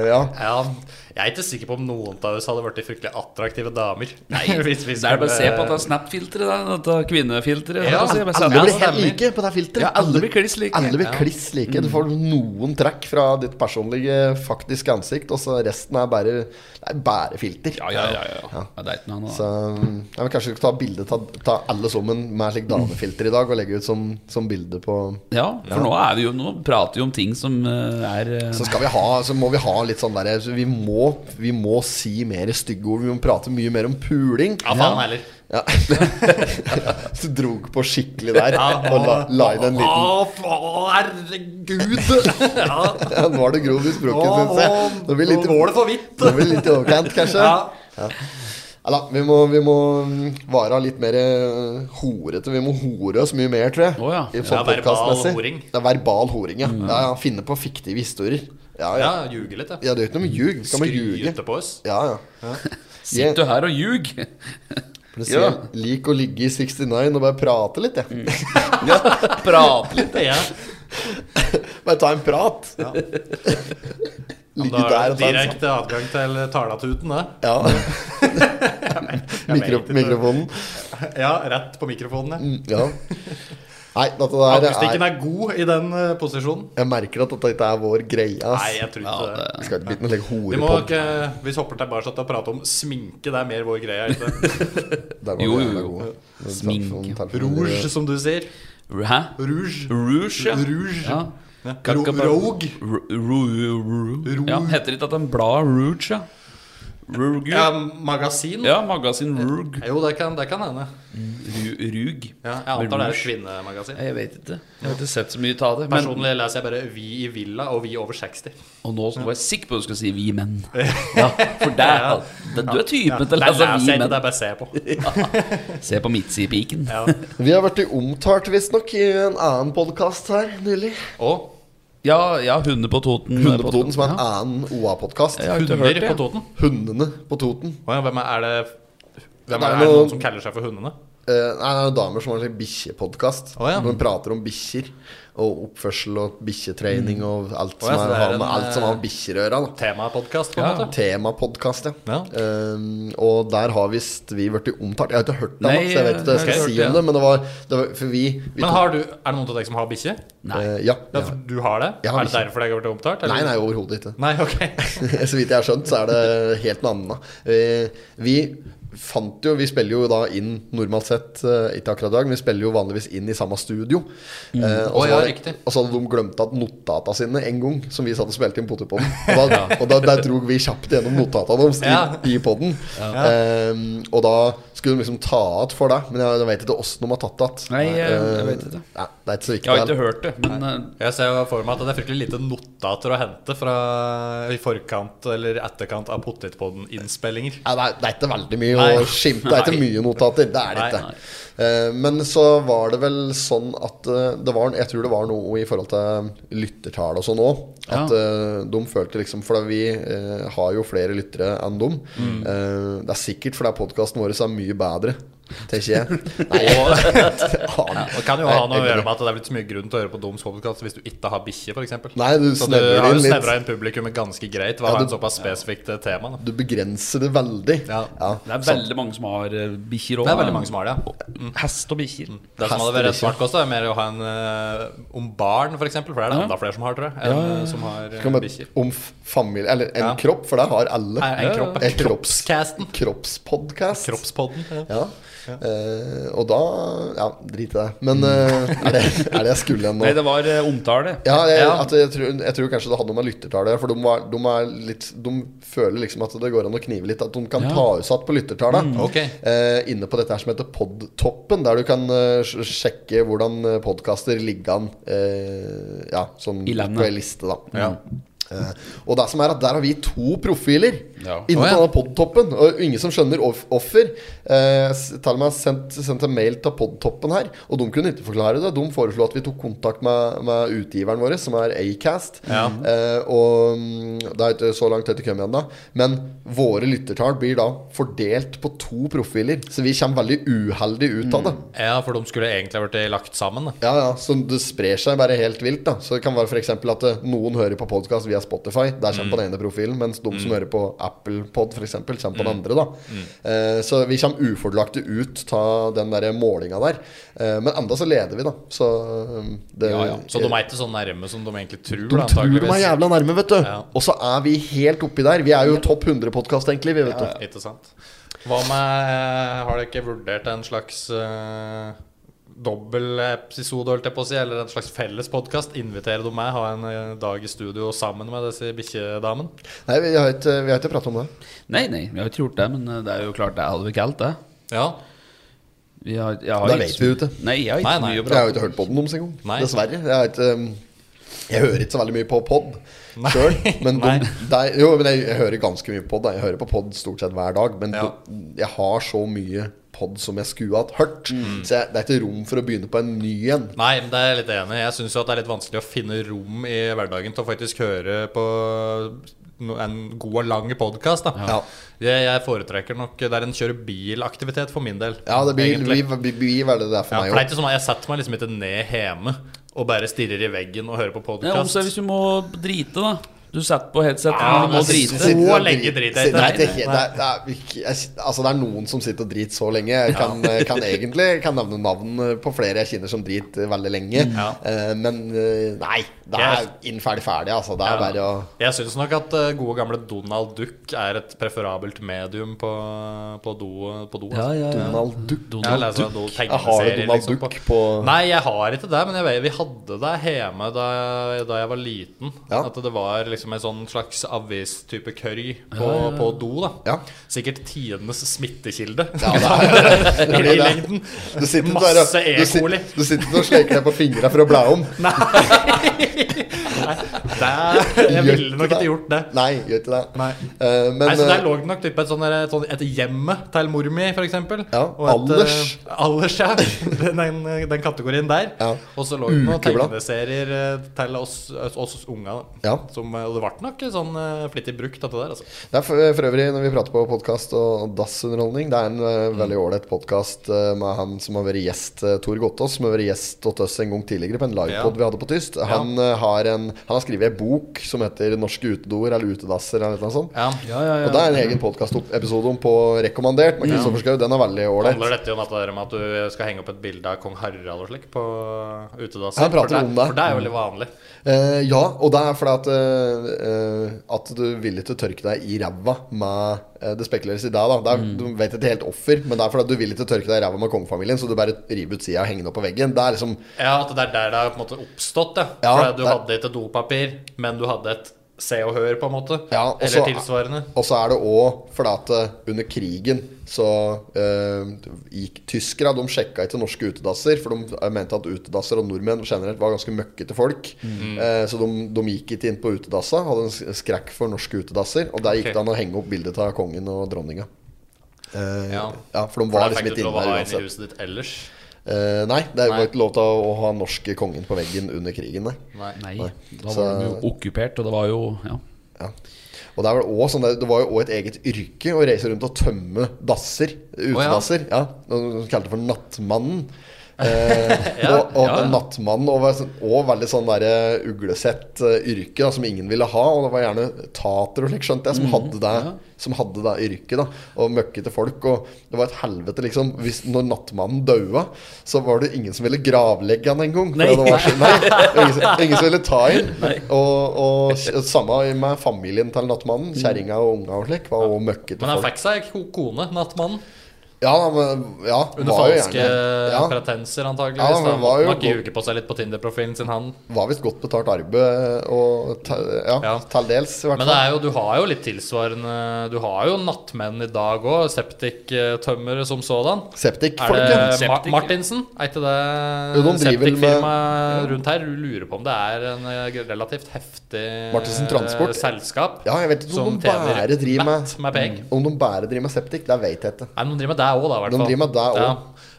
Ja. Ja, jeg er ikke sikker på om noen av oss hadde vært de fryktelig attraktive damer. Nei, Det er bare å se på dette Snap-filteret, da, dette kvinnefilteret. Ja, da, så jeg bare sender Alle blir det. helt like på det filteret. Ja, alle blir kliss like. Alle blir kliss like. Du får noen trekk fra ditt personlige, faktiske ansikt, og så resten er bare, det er bare filter. Ja, ja, ja, ja. Ja, Det er ikke noe annet. Så ja, men Kanskje vi skal ta bilde ta, ta alle sammen med slik damefilter i dag, og legge ut som, som bilde på Ja, for nå, er vi jo, nå prater vi jo om ting som eh, er eh, Så skal vi ha, så må vi ha litt sånn der så vi, må, vi må si mer stygge ord. Vi må prate mye mer om puling. Ja, faen heller. Ja. Så dro på skikkelig der og la, la inn en liten Å, faen, herregud! ja. ja, Nå er det grov i språket, Nå- syns jeg. Nå blir det litt, nå går det for vidt. nå blir det litt i overkant, kanskje. Ja. Ja, da, vi, må, vi må mm, være litt mer eh, horete. Vi må hore oss mye mer, tror jeg. Å, ja. Mm. I sånn Ja, verbal podcastmessig. horing. Det er verbal horing, ja. ja, ja finne på fiktive historier. Ja, ja. ja, ljuge litt, ja. ja det er jo ikke noe med ljug. Skal man ljuge? Skryte på oss. Ja, ja. Sitter du her og ljug? Jeg Ja. Mm. sier, Lik å ligge i 69 og bare prate litt, jeg. Prate litt. Ja. Bare ta en prat. Da ligge er der og ta en det sånn- direkte adgang til talatuten, det. Ja. Mikro, ikke. mikrofonen. Mm, Ja, rett på mikrofonen, ja. Ja. Nei, dette der Akustikken er er god i den eh, posisjonen. Jeg merker at dette ikke er vår greie. Nei, ass. jeg tror ikke det. Det skal ikke bli noe like, Vi må horepod. ikke, vi hopper tilbake til å prate om sminke. Det er mer vår greie. ikke det? Der var vi Jo, jo, jævla jo. gode. Sminke. Telefonen- telefonen- Rouge, som du sier. Hæ? Rouge. Rouge, ja. Rouge. ja. Ro- Rogue. Ro- ro- ro- Ja, heter det ikke at den blar Rouge, ja? Rouge? Ja, magasin. Ja, magasin Roug. Jo, det kan, det kan hende. Ru- Rug. Ja, jeg antar det er et Rouge. kvinnemagasin. Jeg vet ikke. Jeg har ikke sett så mye av det. Men, Personlig leser jeg bare 'Vi i villa' og 'Vi over 60'. og nå var jeg sikker på at du skulle si 'vi menn'. Ja, for der, det, du er Ja, typen det til å leser lese jeg 'vi ikke, det menn'. er bare å se på. Se på midtsidepiken. Ja. Vi har vært omtalt, visstnok, i en annen podkast her nylig. Og Ja, ja, Hunde på Toten. Hundene på Toten, som er en Ja. annen OA-podkast. Jeg har ikke hørt hunder det. på Toten. Hundene på Toten. Å ja, hvem er, er det hvem Det er, er er det noen- noen som kaller seg for hundene? Eh, nei, det er damer som har en bikkjepodkast. Å, ja. Hvor de prater om bikkjer. Og oppførsel og bikkjetrening og alt Mm. Å, ja, som så er- det er har en, med alt som har med eh, bikkjer å gjøre. da. Temapodkast, på en måte. Temapodkast, ja. Ja. Ehm, og der har visst vi blitt omtalt. Jeg har ikke hørt det Nei, ennå, så jeg vet ikke hva jeg nei, skal jeg si hørte om det. det. Men det var, det var For vi, vi Men har du, er det noen av dere som har bikkje? Nei. Eh, ja. Ja, for du har det? Jeg har er det bikkje. derfor dere har vært omtalt? eller? Nei, nei, overhodet ikke. Nei, ok. Så vidt jeg har skjønt, så er det helt noe annet. Eh, Vi fant jo Vi spiller jo da inn normalt sett, eh, ikke akkurat i dag, men vi spiller jo vanligvis inn i samme studio. Mm. Eh, og, Å, så ja, var- riktig. og så hadde de glemt at notata sine en gang, som vi satt og spilte inn potet på den. Og da, og da der drog vi kjapt gjennom notata deres Ja. i, i poden. og da skulle de liksom ta att for deg, men jeg, jeg vet ikke åssen de har tatt att. Nei, jeg- jeg Eh, vet ikke. Nei, det er ikke så viktig. Jeg har det ikke er- hørt det, men eh, Jeg ser jo for meg at det er fryktelig lite notater å hente fra i forkant eller etterkant av Potetpodden-innspillinger. Ja, det, er, det er ikke veldig mye Nei. å skimte. Det er ikke Nei. mye notater. Det er det Nei, ikke. nei. Eh, Men så var det vel sånn at eh, det var, Jeg tror det var noe i forhold til lyttertall og sånn òg. At eh, de følte liksom For vi eh, har jo flere lyttere enn dem. Mm. Eh, Det er sikkert fordi podkasten vår er mye bedre, tenker jeg. Nei, Det kan jo ha Nei, noe å jeg- gjøre med at det er blitt så mye grunn til å høre på Doms podcast hvis du ikke har bikkje, f.eks. Nei, du Så du snevrer har inn jo litt. snevra inn publikummet ganske greit ved å Ja, ha du- en såpass spesifikt eh, tema. Da. Du begrenser det veldig. Ja. det er veldig mange som har eh, bikkjer òg. Det er veldig mange som har Mm. det. ja. Mm, Hest og bikkjer. Det som hadde vært smart kost, er mer å ha en eh, om barn, f.eks. For det er det enda flere som har, tror jeg, enn eh, som har Kan eh, man- bikkjer. Om f- familie Eller en Ja. kropp, for det har alle. Nei, En kropp. En kropps- Kroppscasten. Kroppspodkast. Kroppspodden. Ja. Ja. Eh, og da Ja, drit i det. Men eh, er, det, er det jeg skulle igjen nå? Mm. Nei, det var eh, omtale. Ja, jeg, Ja. At jeg, tror, jeg tror kanskje det hadde noe med lyttertall å gjøre. For de, var, de, er litt, de føler liksom at det går an å knive litt. At de kan Ja. Mm, ta utsatt på lyttertallet. ok. Eh, inne på dette her som heter Podtoppen, der du kan eh, sj- sjekke hvordan eh, podkaster ligger an eh, ja, sånn I landet. på ei liste. da Eh, og det som er at der har vi to profiler Ja. inne på Å, ja. denne podtoppen. Og ingen som skjønner off offer. Eh, s- til og med sendt, sendt en mail til podtoppen her, og de kunne ikke forklare det. De foreslo at vi tok kontakt med, med utgiveren vår, som er Acast. Ja. Eh, og mm, det er ikke så langt etter kommet ennå. Men våre lyttertall blir da fordelt på to profiler, så vi kommer veldig uheldig ut av det. Ja, for de skulle egentlig ha blitt lagt sammen. Da. Ja, ja, så det sprer seg bare helt vilt. da Så det kan være for eksempel at eh, noen hører på podkast via Spotify. Der kommer på Mm. den ene profilen, mens de som hører på Apple Pod, f.eks., kommer Mm. på den andre. da Eh, Så vi kommer ufordelaktig ut av den der målinga der. Eh, Men enda så leder vi, da. Så eh, det Ja, ja. Så de er ikke så nærme som de egentlig tror. de da, tror de er antageligvis. jævla nærme, vet du. Ja. Og så er vi helt oppi der. Vi er jo topp 100-podkast, egentlig. Vi, vet du. Ikke sant. Hva med eh, Har dere ikke vurdert en slags uh, dobbeltepisode, holdt jeg på å si, eller en slags felles podkast? Invitere dem med, ha en eh, dag i studio sammen med disse bikkjedamene? Nei, vi har ikke, vi har ikke prata om det. Nei, nei, vi har ikke gjort det, men eh, det er jo klart det hadde vi ikke alt, det. Ja. Vi har, jeg har Da ikke- vet vi jo ikke. Nei, jeg har ikke Nei, så nei. mye å Jeg har prate jo ikke hørt på den deres engang, Nei. dessverre. Jeg, har ikke, um, jeg hører ikke så veldig mye på pod Nei. sjøl. Men, Nei. de, de- jo, men jeg, jeg hører ganske mye på pod. da. Jeg hører på pod stort sett hver dag. Men Ja. de- jeg har så mye pod som jeg skulle hatt hørt. Så jeg, det er ikke rom for å begynne på en ny en. Nei, men det er jeg litt enig i. Jeg syns det er litt vanskelig å finne rom i hverdagen til å faktisk høre på no- en god og lang podkast. Ja. Jeg, jeg foretrekker nok Det er en kjøre bil-aktivitet for min del. Ja, det blir, egentlig. blir, blir, blir veldig det for Ja, for det er meg òg. ikke sånn at jeg setter meg liksom ikke ned hjemme og bare stirrer i veggen og hører på om. Nei, om podkast. seg hvis du må drite, da. Du setter på headsetet Ja, og du må men jeg drite. synes- Så lenge driter jeg ikke. det, er- det er ikke- jeg- altså, det er noen som sitter og driter så lenge. Jeg kan, jeg kan egentlig jeg kan nevne navn eh, på flere jeg kjenner som driter veldig lenge. Mm. Ja. Eh, Men eh, nei, det er inn ferdig ferdig, altså. Det er bare å Jeg syns nok at eh, gode gamle Donald Duck er et preferabelt medium på, på do. På do Ja, altså. ja, ja. Donald Duck. Jeg Donald leser noen Jeg har tegneserier, det Donald liksom, Duck på Nei, jeg har ikke det, men jeg vet, vi hadde det hjemme da jeg, da jeg var liten. Ja. At det var liksom en sånn slags avistype curry på, på do. da Ja. Sikkert tidenes smittekilde. Ja, det er- I det blir det. lengden. Du sitter ikke der, og- Masse du sit- e-coli. Du sitter ikke og sleker deg på fingra for å bla om. Det, jeg ville nok ikke gjort det. Nei, gjør ikke det. Nei. Eh, men Nei, så Der eh, lå det nok typ et, sånn der- et, sånn- et hjemme til mor mi, f.eks. Ja, Allers. Alders, eh, ja. Den, den, den kategorien der. Ja. Og så lå det noen Ukeblad. tegneserier eh, til oss, oss, oss unga. da. Ja. Som, eh, og det ble nok sånn eh, flittig brukt, dette der. altså det er for, for øvrig, når vi prater på podkast og dassunderholdning, det er en eh, Mm. veldig ålreit podkast med han som har vært gjest, uh, Tor Gottaas, som har vært gjest hos oss en gang tidligere på en livepod Ja. vi hadde på Tyst. Han, eh, har en, han har skrevet ei bok som heter 'Norske utedoer' eller 'Utedasser' eller noe sånt. Ja. Ja, ja, ja. Og det er en egen podkastepisode om på rekommandert med Kristoffer Schau. Den er veldig ålreit. Handler dette om at, det der med at du skal henge opp et bilde av kong Harald og slik på utedasser? Han prater for om det. For det er jo veldig vanlig. Eh, ja, og det er fordi at, eh, eh, at du vil ikke tørke deg i ræva med eh, Det spekuleres i deg, da. Det er, Du vet ikke helt offer, men det er fordi at du vil ikke tørke deg i ræva med kongefamilien, så du bare river ut sida og henger den opp på veggen. Det er liksom Ja, at det er der det har på en måte oppstått, ja. Ja, For du det- hadde ikke dopapir, men du hadde et se og hør, på en måte. Ja, og så- Eller tilsvarende. Og så er det òg fordi at eh, under krigen så eh, gikk tyskere De sjekka ikke norske utedasser, for de eh, mente at utedasser og nordmenn generelt var ganske møkkete folk. Mm. Eh, så de, de gikk ikke inn på utedassa, hadde en s- skrekk for norske utedasser. Og der gikk Ok. det an å henge opp bildet av kongen og dronninga. Eh, ja. Ja. for de For var da liksom fikk du ikke ikke lov inne å ha der inn i uansett. huset ditt ellers. Eh, nei, det var Nei. ikke lov til å, å ha norske kongen på veggen under krigen, nei. Nei, Nei. da var Så- de jo okkupert, og det var jo ja. Ja. Og det, er vel også sånn der, det var jo òg et eget yrke å reise rundt og tømme dasser. Utedasser. ja. De kalte det for Nattmannen. Eh, og og ja, ja. Nattmannen og, var sånn- og veldig sånn der uglesett eh, yrke da, som ingen ville ha. Og det var gjerne tatere og slik, skjønte jeg, som Mhm. hadde det, som hadde det yrket. da Og møkkete folk. Og det var et helvete, liksom. Hvis, når Nattmannen daua, så var det ingen som ville gravlegge han engang. for Nei. det var så- Nei, ingen, som- ingen som ville ta inn. Og, og s- samme med familien til nattmannen. Kjerringa og unga og slik var òg møkkete Mhm. Men han folk. fikk seg ko- kone, nattmannen. Ja, men, ja Under var jo falske gjerne- ja, pretenser, antakeligvis. Ja, men Ja, var jo- Man ljuger på seg litt på Tinder-profilen sin, han. Var visst godt betalt arbeid, eh, og te, ja, Ja. til dels, i hvert Men det fall. er jo, du har jo litt tilsvarende Du har jo nattmenn i dag òg. Septiktømmere som sådan. Er Septikfolket. det Ma Septik, ja. Martinsen? Er ikke Jo, de det driver vel med- septikfirmaet rundt her? Du lurer på om det er en eh, relativt heftig Martinsen Transport. eh, selskap Ja, jeg vet ikke om som de bare driver med Mm. matt med penger? Om de bare driver med septik, det vet jeg ikke. Nei, men de driver med det òg, da. i hvert De fall. driver med det også. Ja.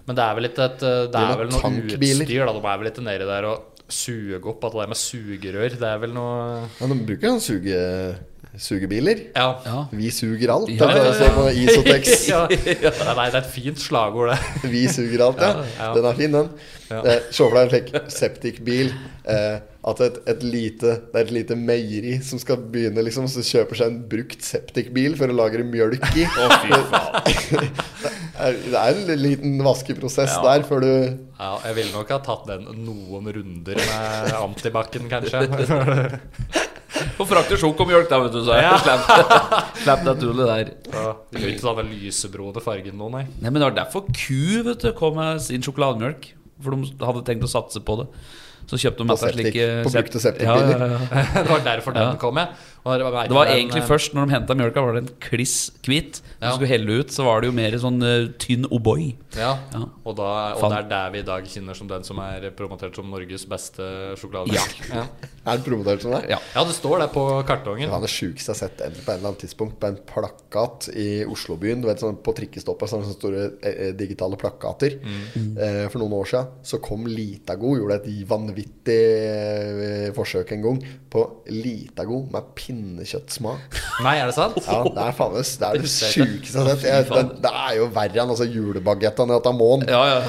Men det er vel ikke et eh, Det Driver er med vel noe tankbiler. utstyr, da. De er vel ikke nedi der og suger opp at det der med sugerør. Det er vel noe Men de bruker jo suge, sugebiler. Ja. Ja. Vi suger alt. Ja, tenkte jeg å se på Isotex. ja. Nei, det er et fint slagord, det. Vi suger alt, ja. Ja, ja. Den er fin, den. Ja. Eh, Se for deg en slik septikbil. Eh, at et, et lite, det er et lite meieri som skal begynne liksom Så kjøper seg en brukt septikbil for å lagre mjølk i. Er- det er en liten vaskeprosess der før du Ja, jeg ville nok ha tatt den noen runder med antibac-en, kanskje. Få frakte sjokomjølk, da, vet du, så jeg Ja. slapp- slapp det tullet der. Ja, det er jo ikke sånn lysebrune fargen nå, nei. Nei, men det var derfor Ku vet du, kom med sin sjokolademjølk. For de hadde tenkt å satse på det. Så kjøpte de På etter septik- slike på brukte septikbiler. Ja, ja, ja. Det var derfor den Ja. kom, jeg. Og det var, Det var egentlig først når de henta mjølka, var det en kliss hvitt. Når Ja. du skulle helle ut, så var det jo mer sånn eh, tynn O'boy. Ja, Ja. og, da, og Fan. det er der vi i dag kjenner som den som er promotert som Norges beste sjokolade. Ja. Ja. er promotert som det. Ja. Ja, det står det på kartongen. Han er sjukest jeg har sett en- på en eller annen tidspunkt på en plakat i Oslobyen. Du vet, sånn, på trikkestoppet sånne store eh, eh, digitale plakater. Eh, for noen år siden så kom Litago, gjorde et vanvittig eh, forsøk en gang på Litago med pinnekjøttsmak. Nei, er det sant? Ja, det er faen meg- det er det Fy sjukeste jeg har sett. Jeg, det, faen. det er jo verre enn altså, julebagettene i Atamon. Ja, ja.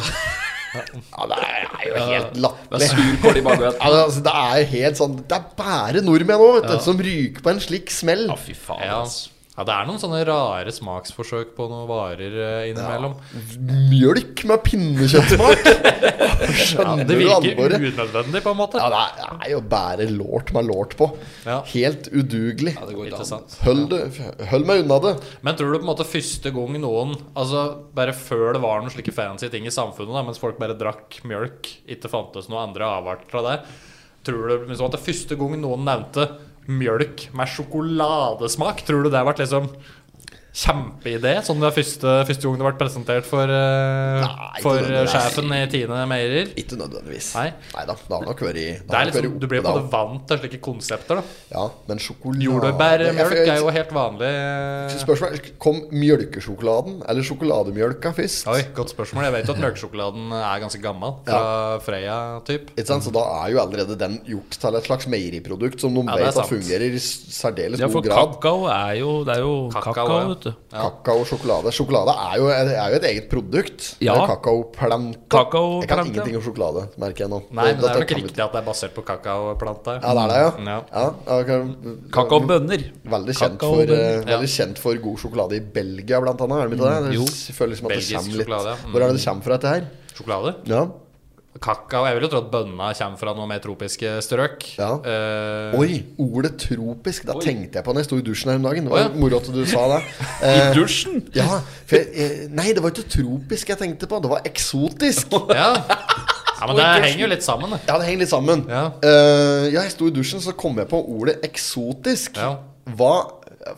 Ja, det er jo helt Med latterlig. surkål i Ja, baguett. det- altså, det er jo helt sånn Det er bare nordmenn òg, vet du, som ryker på en slik smell. Ja, fy faen, Ja. altså. ja, det er noen sånne rare smaksforsøk på noen varer eh, innimellom. Mjølk med pinnekjøttsmak! Skjønner Det du virker alvoret? unødvendig, på en måte. Ja, det er- det er jo bare lort med lort på. Ja. Helt udugelig. Ja, det går ikke an. Interessant. Hold, det- hold meg unna det. Men tror du på en måte første gang noen Altså bare før det var noen slike fancy ting i samfunnet, da, mens folk bare drakk mjølk, ikke fantes noen andre avarter av det Tror du liksom at det første gang noen nevnte mjølk med sjokoladesmak, tror du det ble liksom kjempeidé? Sånn det første, første gang det ble presentert for, eh, Nei, for ikke nødvendigvis. sjefen i Tine Meierier? Ikke sånn, nødvendigvis. Nei. da. Det har nok vært det Det har er nok liksom, vært du blir oppe på da. en måte vant til slike konsepter. da Ja, men sjokolade Jordbærmjølk Jeg- er jo helt vanlig. eh, Spørsmål Kom mjølkesjokoladen eller sjokolademjølka først? Oi, godt spørsmål. Jeg vet jo at mørkesjokoladen er ganske gammel. Fra Freia, typ. Ikke sant? Så da er jo allerede den gjort til et slags meieriprodukt som de Ja, det er vet at sant. fungerer i særdeles Ja, for god grad. kakao er jo Det er jo Kakao, kakao, ja. vet du. Ja. Kakao og sjokolade. Sjokolade er jo, er jo et eget produkt. Ja. Det er Kakaoplante. Kakaoplante, Jeg kan ja. ingenting om sjokolade, merker jeg nå. Nei, men det er Dette nok kan vi- riktig at det er basert på kakaoplante. Ja, det er det, ja. Ja. ja. ja, ok. Kakaobønner. Veldig kjent, for, Kakaobønner. eh, ja. Mm, veldig kjent for god sjokolade i Belgia, blant annet. Er det ikke det? jo. Jeg føler liksom at det Belgisk kommer litt sjokolade, ja. Mm. Hvor er det det kommer fra, dette her? Sjokolade? Ja. Kakao Jeg vil jo tro at bønna kommer fra noe mer tropiske strøk. Ja. Eh, Oi, ordet tropisk. Da tenkte jeg på når jeg sto i dusjen her om dagen. Det var Å, ja. moro at du sa det. I Eh, dusjen! ja, for jeg, eh, nei, det var ikke tropisk jeg tenkte på. Det var eksotisk. ja. ja, men det henger jo litt sammen, det. Ja, det henger litt sammen. Ja. Eh, ja, jeg sto i dusjen, så kom jeg på ordet eksotisk. Ja. Hva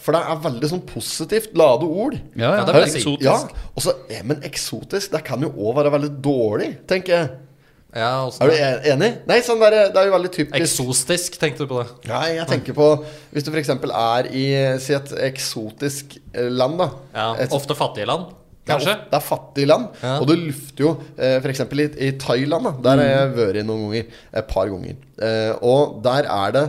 For det er veldig sånn positivt lade ord. Ja, Ja, ja, det det vil er jeg si. eksotisk. Ja, og så, ja, Men eksotisk, det kan jo òg være veldig dårlig, tenker jeg. Ja, også Er du en- enig? Nei, sånn der, det er jo veldig typisk Eksostisk, tenkte du på det? Nei, jeg tenker på Hvis du f.eks. er i Si et eksotisk eh, land, da. Ja, Et, Ofte fattige land, det er, kanskje? of- det er fattige land, Ja. og du lufter jo eh, f.eks. I, i Thailand. Da, der har Mm. jeg vært noen ganger. Et par ganger. Eh, og der er det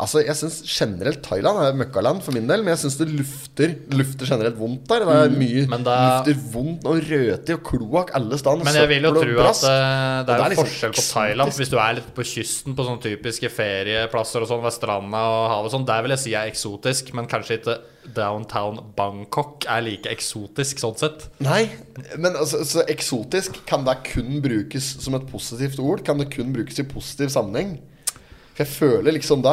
Altså, jeg syns generelt Thailand er møkkaland for min del, men jeg syns det lufter Lufter generelt vondt der. Det er mye Mm, men da- lufter vondt og røtig og kloakk alle steder. Men jeg vil jo søppel og tro at brask. Og eh, det er, jo det er liksom forskjell på eksotisk. Thailand. Hvis du er litt på kysten, på sånne typiske ferieplasser og sånn, ved stranda og havet og sånn, der vil jeg si er eksotisk, men kanskje ikke downtown Bangkok er like eksotisk sånn sett. Nei, men altså, så eksotisk, kan det kun brukes som et positivt ord? Kan det kun brukes i positiv sammenheng? For jeg føler liksom det.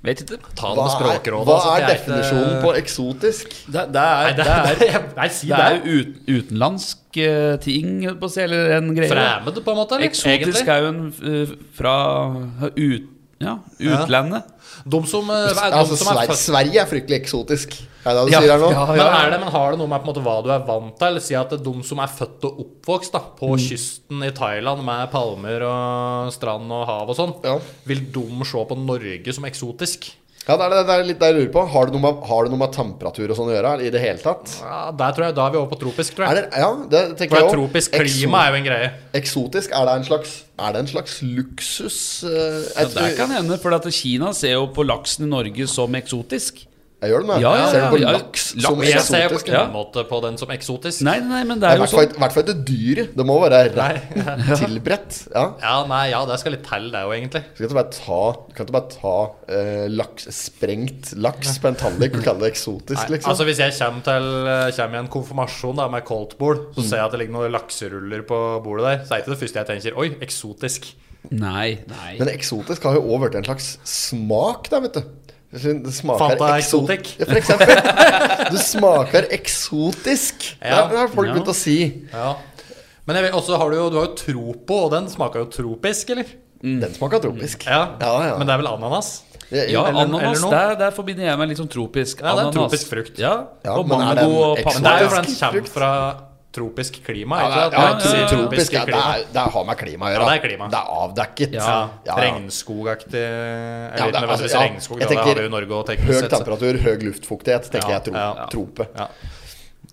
Vet ikke. Ta det Hva med er, Språkrådet. hva altså, er det ikke- definisjonen på eksotisk? Det, det er, Nei, det er, nei, si det det. er jo ut, utenlandsk eh, ting, holdt på å si, eller en greie. Fremmed, på en måte? Eller? Eksotisk Egentlig. er jo en eh, fra eh, ut, ja, utlandet. De som, eh, er, de Altså, som er Sver født Sverige er fryktelig eksotisk. Er det det du Ja, sier her nå? ja, men, er det, men har det noe med på en måte, hva du er vant til? Si at de som er født og oppvokst da, på Mm. kysten i Thailand med palmer og strand og hav og sånn, Ja. vil de se på Norge som eksotisk? Ja, det er, det, det er litt det jeg lurer på. Har det noe med, har det noe med temperatur og sånn å gjøre? I det hele tatt? Ja, der tror jeg, da er vi over på tropisk, tror Er jeg. det, ja, det tenker For det jeg er også. tropisk klima er jo en greie. Ekso- Eksotisk, er det en slags, er det en slags luksus? eh, Ja, jeg, det tror- kan hende, for at Kina ser jo på laksen i Norge som eksotisk. jeg gjør det, men Ja, ja, ser du på ja, ja. laks Laks, som jeg Jeg ser på eksotisk? ja. ingen måte på den som eksotisk. Nei, nei, men det I er jo hvert fall sånn. ikke- i hvert fall ikke dyr. Det må være Nei. rett tilberedt. Ja. Ja, nei, ja, det skal litt til, det jo, egentlig. Du kan ikke bare ta, du kan ikke bare ta eh, laks, sprengt laks på en tallrik og kalle det eksotisk, Nei, liksom. Altså Hvis jeg kommer, til, eh, kommer i en konfirmasjon da med Mm. koldtbord, så ser jeg at det ligger noen lakseruller på bordet der, så er ikke det første jeg tenker Oi, eksotisk. Nei, nei. Men eksotisk har jo òg blitt en slags smak, da, vet du. Det smaker Fanta ekso- eksotikk. Ja, for eksempel. Du smaker eksotisk. Ja. Det har folk Ja. begynt å si. Ja. Men jeg vet, også har du jo, du har jo Tropo, og den smaker jo tropisk, eller? Den smaker tropisk. Mm. Ja, Ja, ja. Men det er vel ananas? Jeg- Ja, eller- ananas, eller noe? der, der forbinder jeg meg litt sånn tropisk. Ja, det er en Ananas. tropisk frukt. Ja, Ja, og men er det en mango og eksotisk- papp. Men det er jo fordi den Tropisk kommer frukt. fra tropisk klima. Ja, ikke sant? ja, Man sier tro- tropisk, tropiske ja, det, klima. er, det har med klima å gjøre. Ja, det er klima. Det er avdekket. Ja, Regnskogaktig Eller Ja, det ikke er- nødvendigvis altså, ja. regnskog, Jeg da, det tenker har vi jo i Norge og Høy teknisk sett. så- temperatur, høy luftfuktighet, tenker Ja, jeg. Tro, ja. Trope. Ja.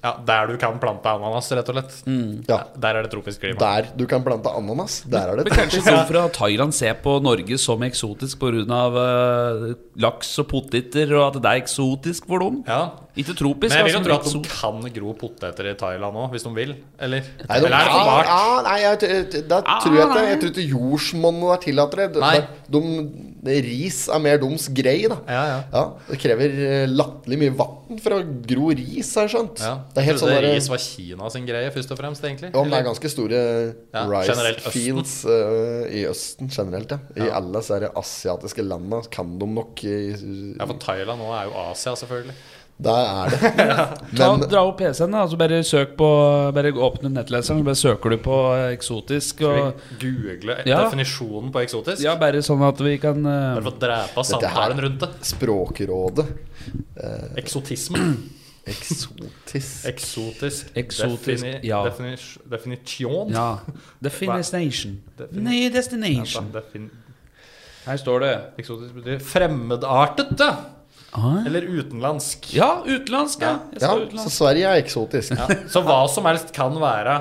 ja, Der du kan plante ananas, rett og slett. Ja. Der er det tropisk klima. Mm. Der du kan plante ananas, der er det Men kanskje noen sånn fra Thailand ser på Norge som eksotisk pga. Uh, laks og poteter, og at det er eksotisk for dem? Ja. Ikke tropisk, Men jeg vil jo altså, tro at de eksotisk. kan gro poteter i Thailand òg, hvis de vil. Eller, Nei, de, eller er det for ja, vart? nei, jeg, t- da Ah, tror jeg ikke nei. Jeg tror ikke jordsmonnet er tillatt det. Nei. De, de, ris er mer deres greie, da. Ja, ja. det krever eh, latterlig mye vann for å gro ris, har jeg skjønt. Ja. Det er helt sånn Trodde der, ris var Kina sin greie, først og fremst, egentlig. ja, men det er Eller- ganske store Ja, rice generelt Østen. fields eh, i Østen generelt, ja. I alle disse asiatiske landene kan de nok eh, ja, for Thailand nå er jo Asia, selvfølgelig. Der er det. Ta, Men dra opp PC-en, da. Altså bare søk på Bare åpne nettleseren, så bare søker du på eh, eksotisk. Og, Vi Google Ja. definisjonen på eksotisk. ja, bare sånn at vi kan eh, Bare for å drepe Dette her- samtalen rundt det. Språkrådet Eksotisme. Eksotisk. Eksotisk, Eksotisk, defini ja. definis- definisjon. Ja. Definition. Nei, Altså, destination. defin Her står det eksotisk betyr fremmedartet, da. Ah. Eller utenlandsk. Ja, utenlandsk, ja. Jeg Ja, skal så utenlandsk. Sverige er eksotisk. Så hva som helst kan være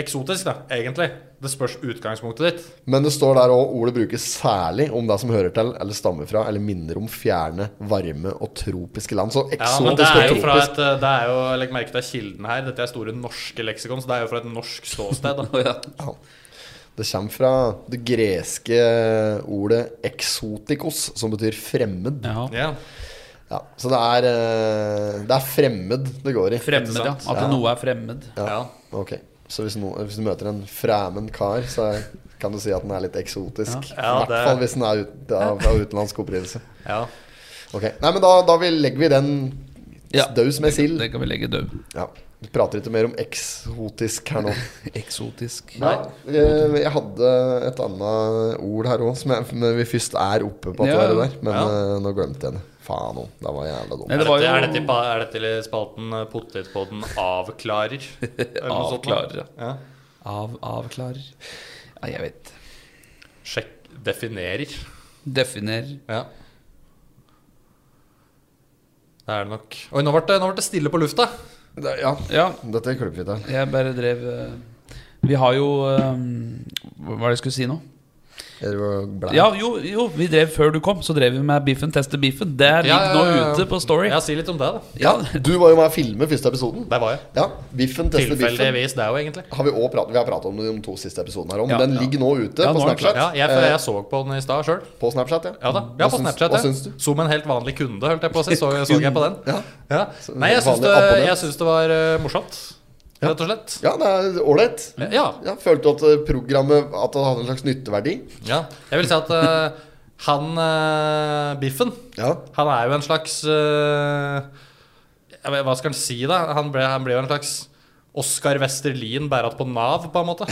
eksotisk, da, egentlig. Det spørs utgangspunktet ditt. Men det står der òg ordet brukes særlig om det som hører til eller stammer fra eller minner om fjerne, varme og tropiske land. Så Ja, men det eksotisk er jo og fra tropisk. et eh, Det er jo, legg merke til kilden her, dette er store norske leksikon, så det er jo fra et norsk ståsted. da Ja. Det kommer fra det greske ordet 'eksotikos', som betyr fremmed. Ja. Ja. Ja, så det er, eh, det er fremmed det går i. Fremmed, ja. At Ja. noe er fremmed. Ja. Ok, Så hvis, no, hvis du møter en fremmed kar, så er- kan du si at den er litt eksotisk. I Ja, hvert det- fall hvis den er ut, av, av utenlandsk opprinnelse. ja. Ok, Nei, men da, da vi- legger vi den Ja. daus med sild. Det kan vi legge død. Ja. Vi prater ikke mer om eksotisk her nå. Eksotisk. Nei. Jeg hadde et annet ord her òg, men vi først er oppe på at Ja, det var det der. Men ja. eh, nå glemte jeg det. Faen òg. Det var jævla dumt. Nei, Er, det var dette, jo er, dette, i pa- er dette i spalten eh, Potetpodden avklarer? Eller noe sånt da? Avklarer, ja. Av, avklarer. Ja, jeg vet. Sjekk definerer. Definer. Ja. Det er det nok. Oi, nå ble det, nå ble det stille på lufta. Det, ja, Ja, dette klipper vi til. jeg bare drev eh, Vi har jo eh, Hva var det jeg skulle si nå? Er du blæ? Ja, jo, jo, vi drev før du kom, så drev vi med Biffen tester biffen. Det ligger nå ute på Story. Ja, Si litt om det, da. Ja, Du var jo med å filme første episoden. Der var jeg. Ja, Biffen tester biffen. Tilfeldigvis, det er jo egentlig. Har vi, også pratet, vi har pratet om det i de to siste episodene her om. Ja, den ja. ligger nå ute Ja, på nå er den klar. Snapchat. Ja, jeg, for Eh, jeg så på den i stad sjøl. På Snapchat, ja. Ja da. Ja, på Hva syns- Snapchat. Hva ja. syns du? Som en helt vanlig kunde, holdt jeg på å si. Så, så jeg på den. Ja. Ja. Nei, jeg syns Vanlig det, abonnent. jeg syns det var eh, morsomt. Rett og slett. Ja, det er ålreit. Ja. Ja, følte du at eh, programmet At det hadde en slags nytteverdi? ja. Jeg vil si at eh, Han eh, Biffen, Ja. han er jo en slags eh, jeg vet, Hva skal han si, da? Han ble, han ble jo en slags Oskar Westerlin bæret på Nav, på en måte.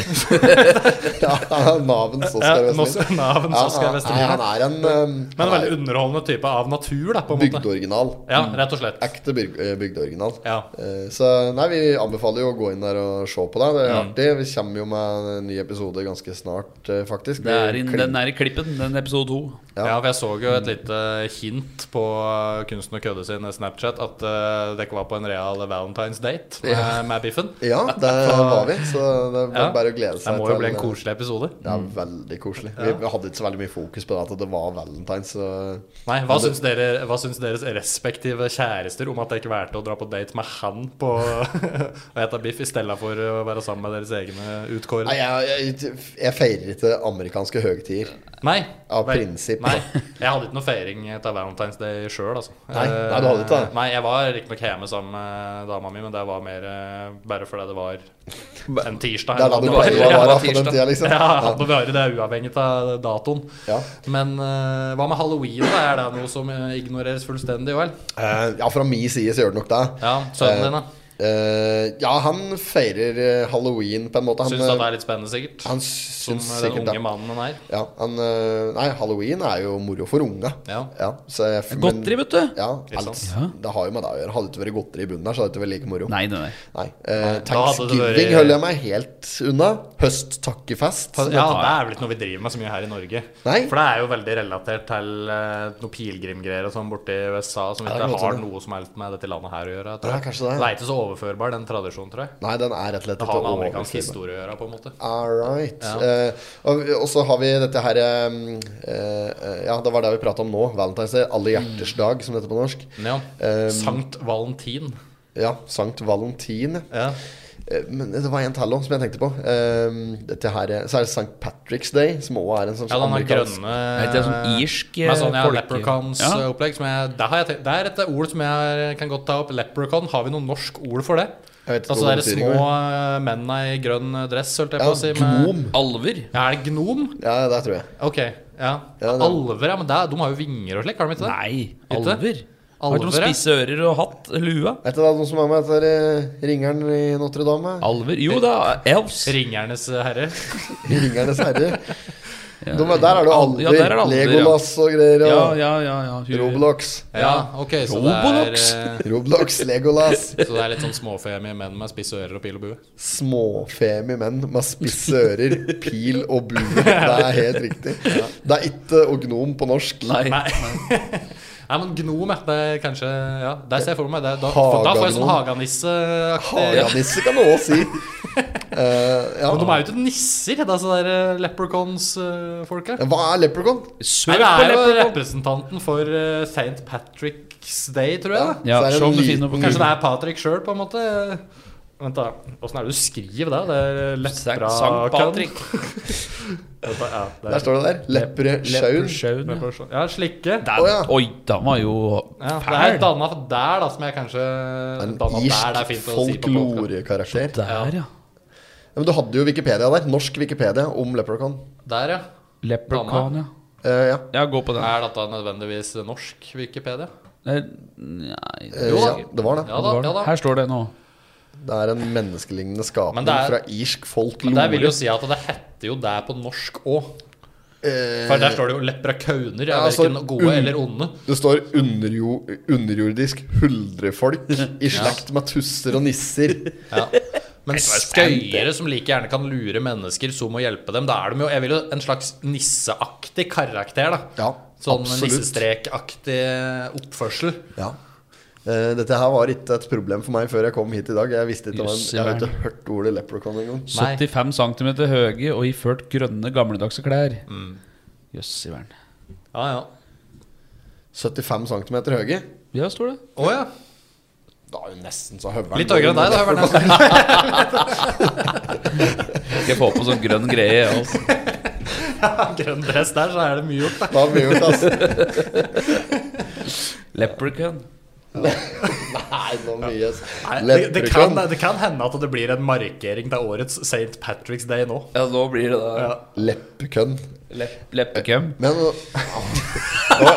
Ja, Navens Oscar Ja, Westerlin. Nos- Navens Ja, Oscar han- Westerlin. Han er en um, Men en han er veldig underholdende type av natur, da, på en måte. bygdeoriginal. Ja, rett og slett. Ekte byg- eh, bygdeoriginal. Ja. Eh, Så nei, vi anbefaler jo å gå inn der og se på det. Det Mm. er artig. Vi kommer jo med en ny episode ganske snart, eh, faktisk. Det er Vi inn, klipper- den er i klippen, den episode to. Ja. Ja. for jeg så jo et lite hint på eh, Kunsten og kødde sin Snapchat at eh, dere var på en real Valentine's date med, med Biffen. Ja, der var vi. Så det er Ja. bare å glede seg. Det må jo bli til- en koselig episode. Det er veldig koselig. Vi, vi hadde ikke så veldig mye fokus på det at det var valentines. Så Nei, hva syns, dere, hva syns deres respektive kjærester om at dere valgte å dra på date med han på å ete biff i stedet for å være sammen med deres egne Nei, utkårede? jeg, jeg, jeg feirer ikke amerikanske høgtider. Nei. Av Nei. prinsipp. Nei. Jeg hadde ikke noe feiring til Valentine's Day sjøl, altså. Nei, Eh, nei, du hadde ikke det. Nei, jeg var riktignok hjemme sammen med dama mi, men det var mer eh, bare fordi det var en tirsdag. Det er da du det var- pleier det å var være på den tirsdag. tida, liksom. Ja, Ja. nå varer det uavhengig av datoen. Ja. Men eh, hva med halloween? da? Er det noe som eh, ignoreres fullstendig? Vel? Eh, ja, fra min side så gjør det nok det. Ja, Sønnen din, da? Eh, ja, han feirer eh, halloween på en måte. Han, Syns at det eh, er litt spennende, sikkert? han Som eh, syns den sikkert unge det. mannen han er. Ja, han, eh, nei, halloween er jo moro for unga. Ja. så jeg, men- Godteri, vet du. Ja, Ikke alt, sant? Ja. Det har jo med det å gjøre. Hadde det ikke vært godteri i bunnen der, så hadde det ikke vært like moro. Nei, nei, nei. Nei. Eh, da hadde det Thanksgiving vært- holder jeg meg helt unna. Høsttakkefest. Ja, det er vel ikke noe vi driver med så mye her i Norge. Nei. For det er jo veldig relatert til uh, noe pilegrimgreier og sånn borti USA som Ja, det ikke er godt har det. noe som helst med dette landet her å gjøre. Ja, Tror jeg. kanskje det. er ikke så overførbar, den tradisjonen, tror jeg. Nei, den er rett og slett Det har ikke med amerikansk overskridbar. historie å gjøre, på en måte. All right. Ja. Eh, og, og så har vi dette her eh, eh, Ja, det var det vi prata om nå. Valentine's Day. Alle hjerters dag, som det heter på norsk. Ja. Eh, Mm. Sankt Valentin. Ja, Sankt Valentin. Ja. Eh, Men det var en tall også som jeg tenkte på. Eh, dette her, eh, så er det Sankt Patrick's Day, som også er en sånn Ja, den har amerikansk- grønne Er ikke det sånn irsk eh, Med sånn ja, folke- Ja. leprechauns-opplegg. som jeg- Det, har jeg tenkt- det er et ord som jeg kan godt ta opp. Leprechaun. Har vi noe norsk ord for det? Jeg vet ikke Altså hva de det betyr, små eh, mennene i grønn eh, dress, holdt jeg Ja, på å si. med- Gnom. Alver. Ja, er det gnom? Ja, det tror jeg. Ok, ja. Ja, det- Alver, ja. Men det, er- de har jo vinger og slik, har de ikke det? Nei, Ikke? alver. Har Alver, de ja. spisse ører og hatt? Lua? Er ikke det noen som er med etter eh, ringeren i Notre-Dame? Alver? Jo da, elves. Ringernes eh, herre. I Ringenes herre. De, der er det jo alder. Ja, der er det alder, Legolas og greier. Ja, Og ja, ja. ja. Hun- Roblox. Ja, ok, så det Robolox. er, eh, Roblox, Legolas. så det er litt sånn småfemie menn med spisse ører og pil og bue. Småfemi menn med spisse ører, pil og bue. Det er helt riktig. Det er ikke og gnom på norsk. Nei. Nei. Nei, men gnom, ja. Det er kanskje Ja, der ser jeg for meg det. Da, Hagagnom. da får jeg sånn haganisseaktig Haganisse kan du òg si. Eh, ja. Men de Ah. er jo ikke nisser, det er sånne der eh, leprechauns-folka. Hva er leprechaun? Søk på Nei, det er jo leprechaun. representanten for eh, St. Patrick's Day, tror jeg. da. Ja, Så er det se om en du finner liten- noe på Kanskje det er Patrick sjøl, på en måte. Vent, da. Åssen er det du skriver det? Det er Sankt lepra Sankt Patrick. Vent da, ja, det Der er står det der. Leprechaun. Leprechaun, ja. leprechaun. Ja, slikke. Der- Å, ja. Oi, den var jo Ja, det fæl. er danna der, da, som jeg kanskje En Danna der, det er irsk fint å si på podcast. folklorekarakter. Der, ja. Ja, men du hadde jo Wikipedia der. Norsk Wikipedia om leprechaun. Der, ja. Leprechaun, ja. Eh, ja. Ja, gå på den. Er dette nødvendigvis norsk Wikipedia? Nei, nei Eh, jo da. ja, det var det. Ja Det da, var ja den. da. Her står det nå. Det er en menneskelignende skapning Men det er- fra irsk folklore. Men det vil jo si at det heter jo det på norsk òg. Eh, For der står det jo leprakauner. Ja, Ja, mm. altså, verken gode un- eller onde. Det står underjo, underjordisk huldrefolk i slekt med tusser og nisser. Ja. Men skøyere som like gjerne kan lure mennesker som å hjelpe dem. Da er de jo jeg vil jo en slags nisseaktig karakter. da Ja, Sånn absolutt. nissestrekaktig eh, oppførsel. Ja. Eh, dette her var ikke et problem for meg før jeg kom hit i dag. Jeg visste ikke om Jøss, jeg, jeg har ikke hørt ordet leprechaun engang. Nei. 75 cm høye og iført grønne, gamledagse klær. Mm. Jøss i verden. Ja, ja. 75 cm høye. Ja, står det. Å ja. Da er jo nesten så høveren Litt høyere enn deg, da. Høveren. Skal jeg få på sånn grønn greie? Altså. Grønn dress der, så er det mye gjort. da. Da blir jo det, altså. Leprechaun. Nei, nå mye Nei, det, det, kan, Leprechaun. det kan hende at det blir en markering til årets St. Patrick's Day nå. Ja, nå blir det da Ja. Leppekønn. Lepp- Leppekøm. Men nå- Nå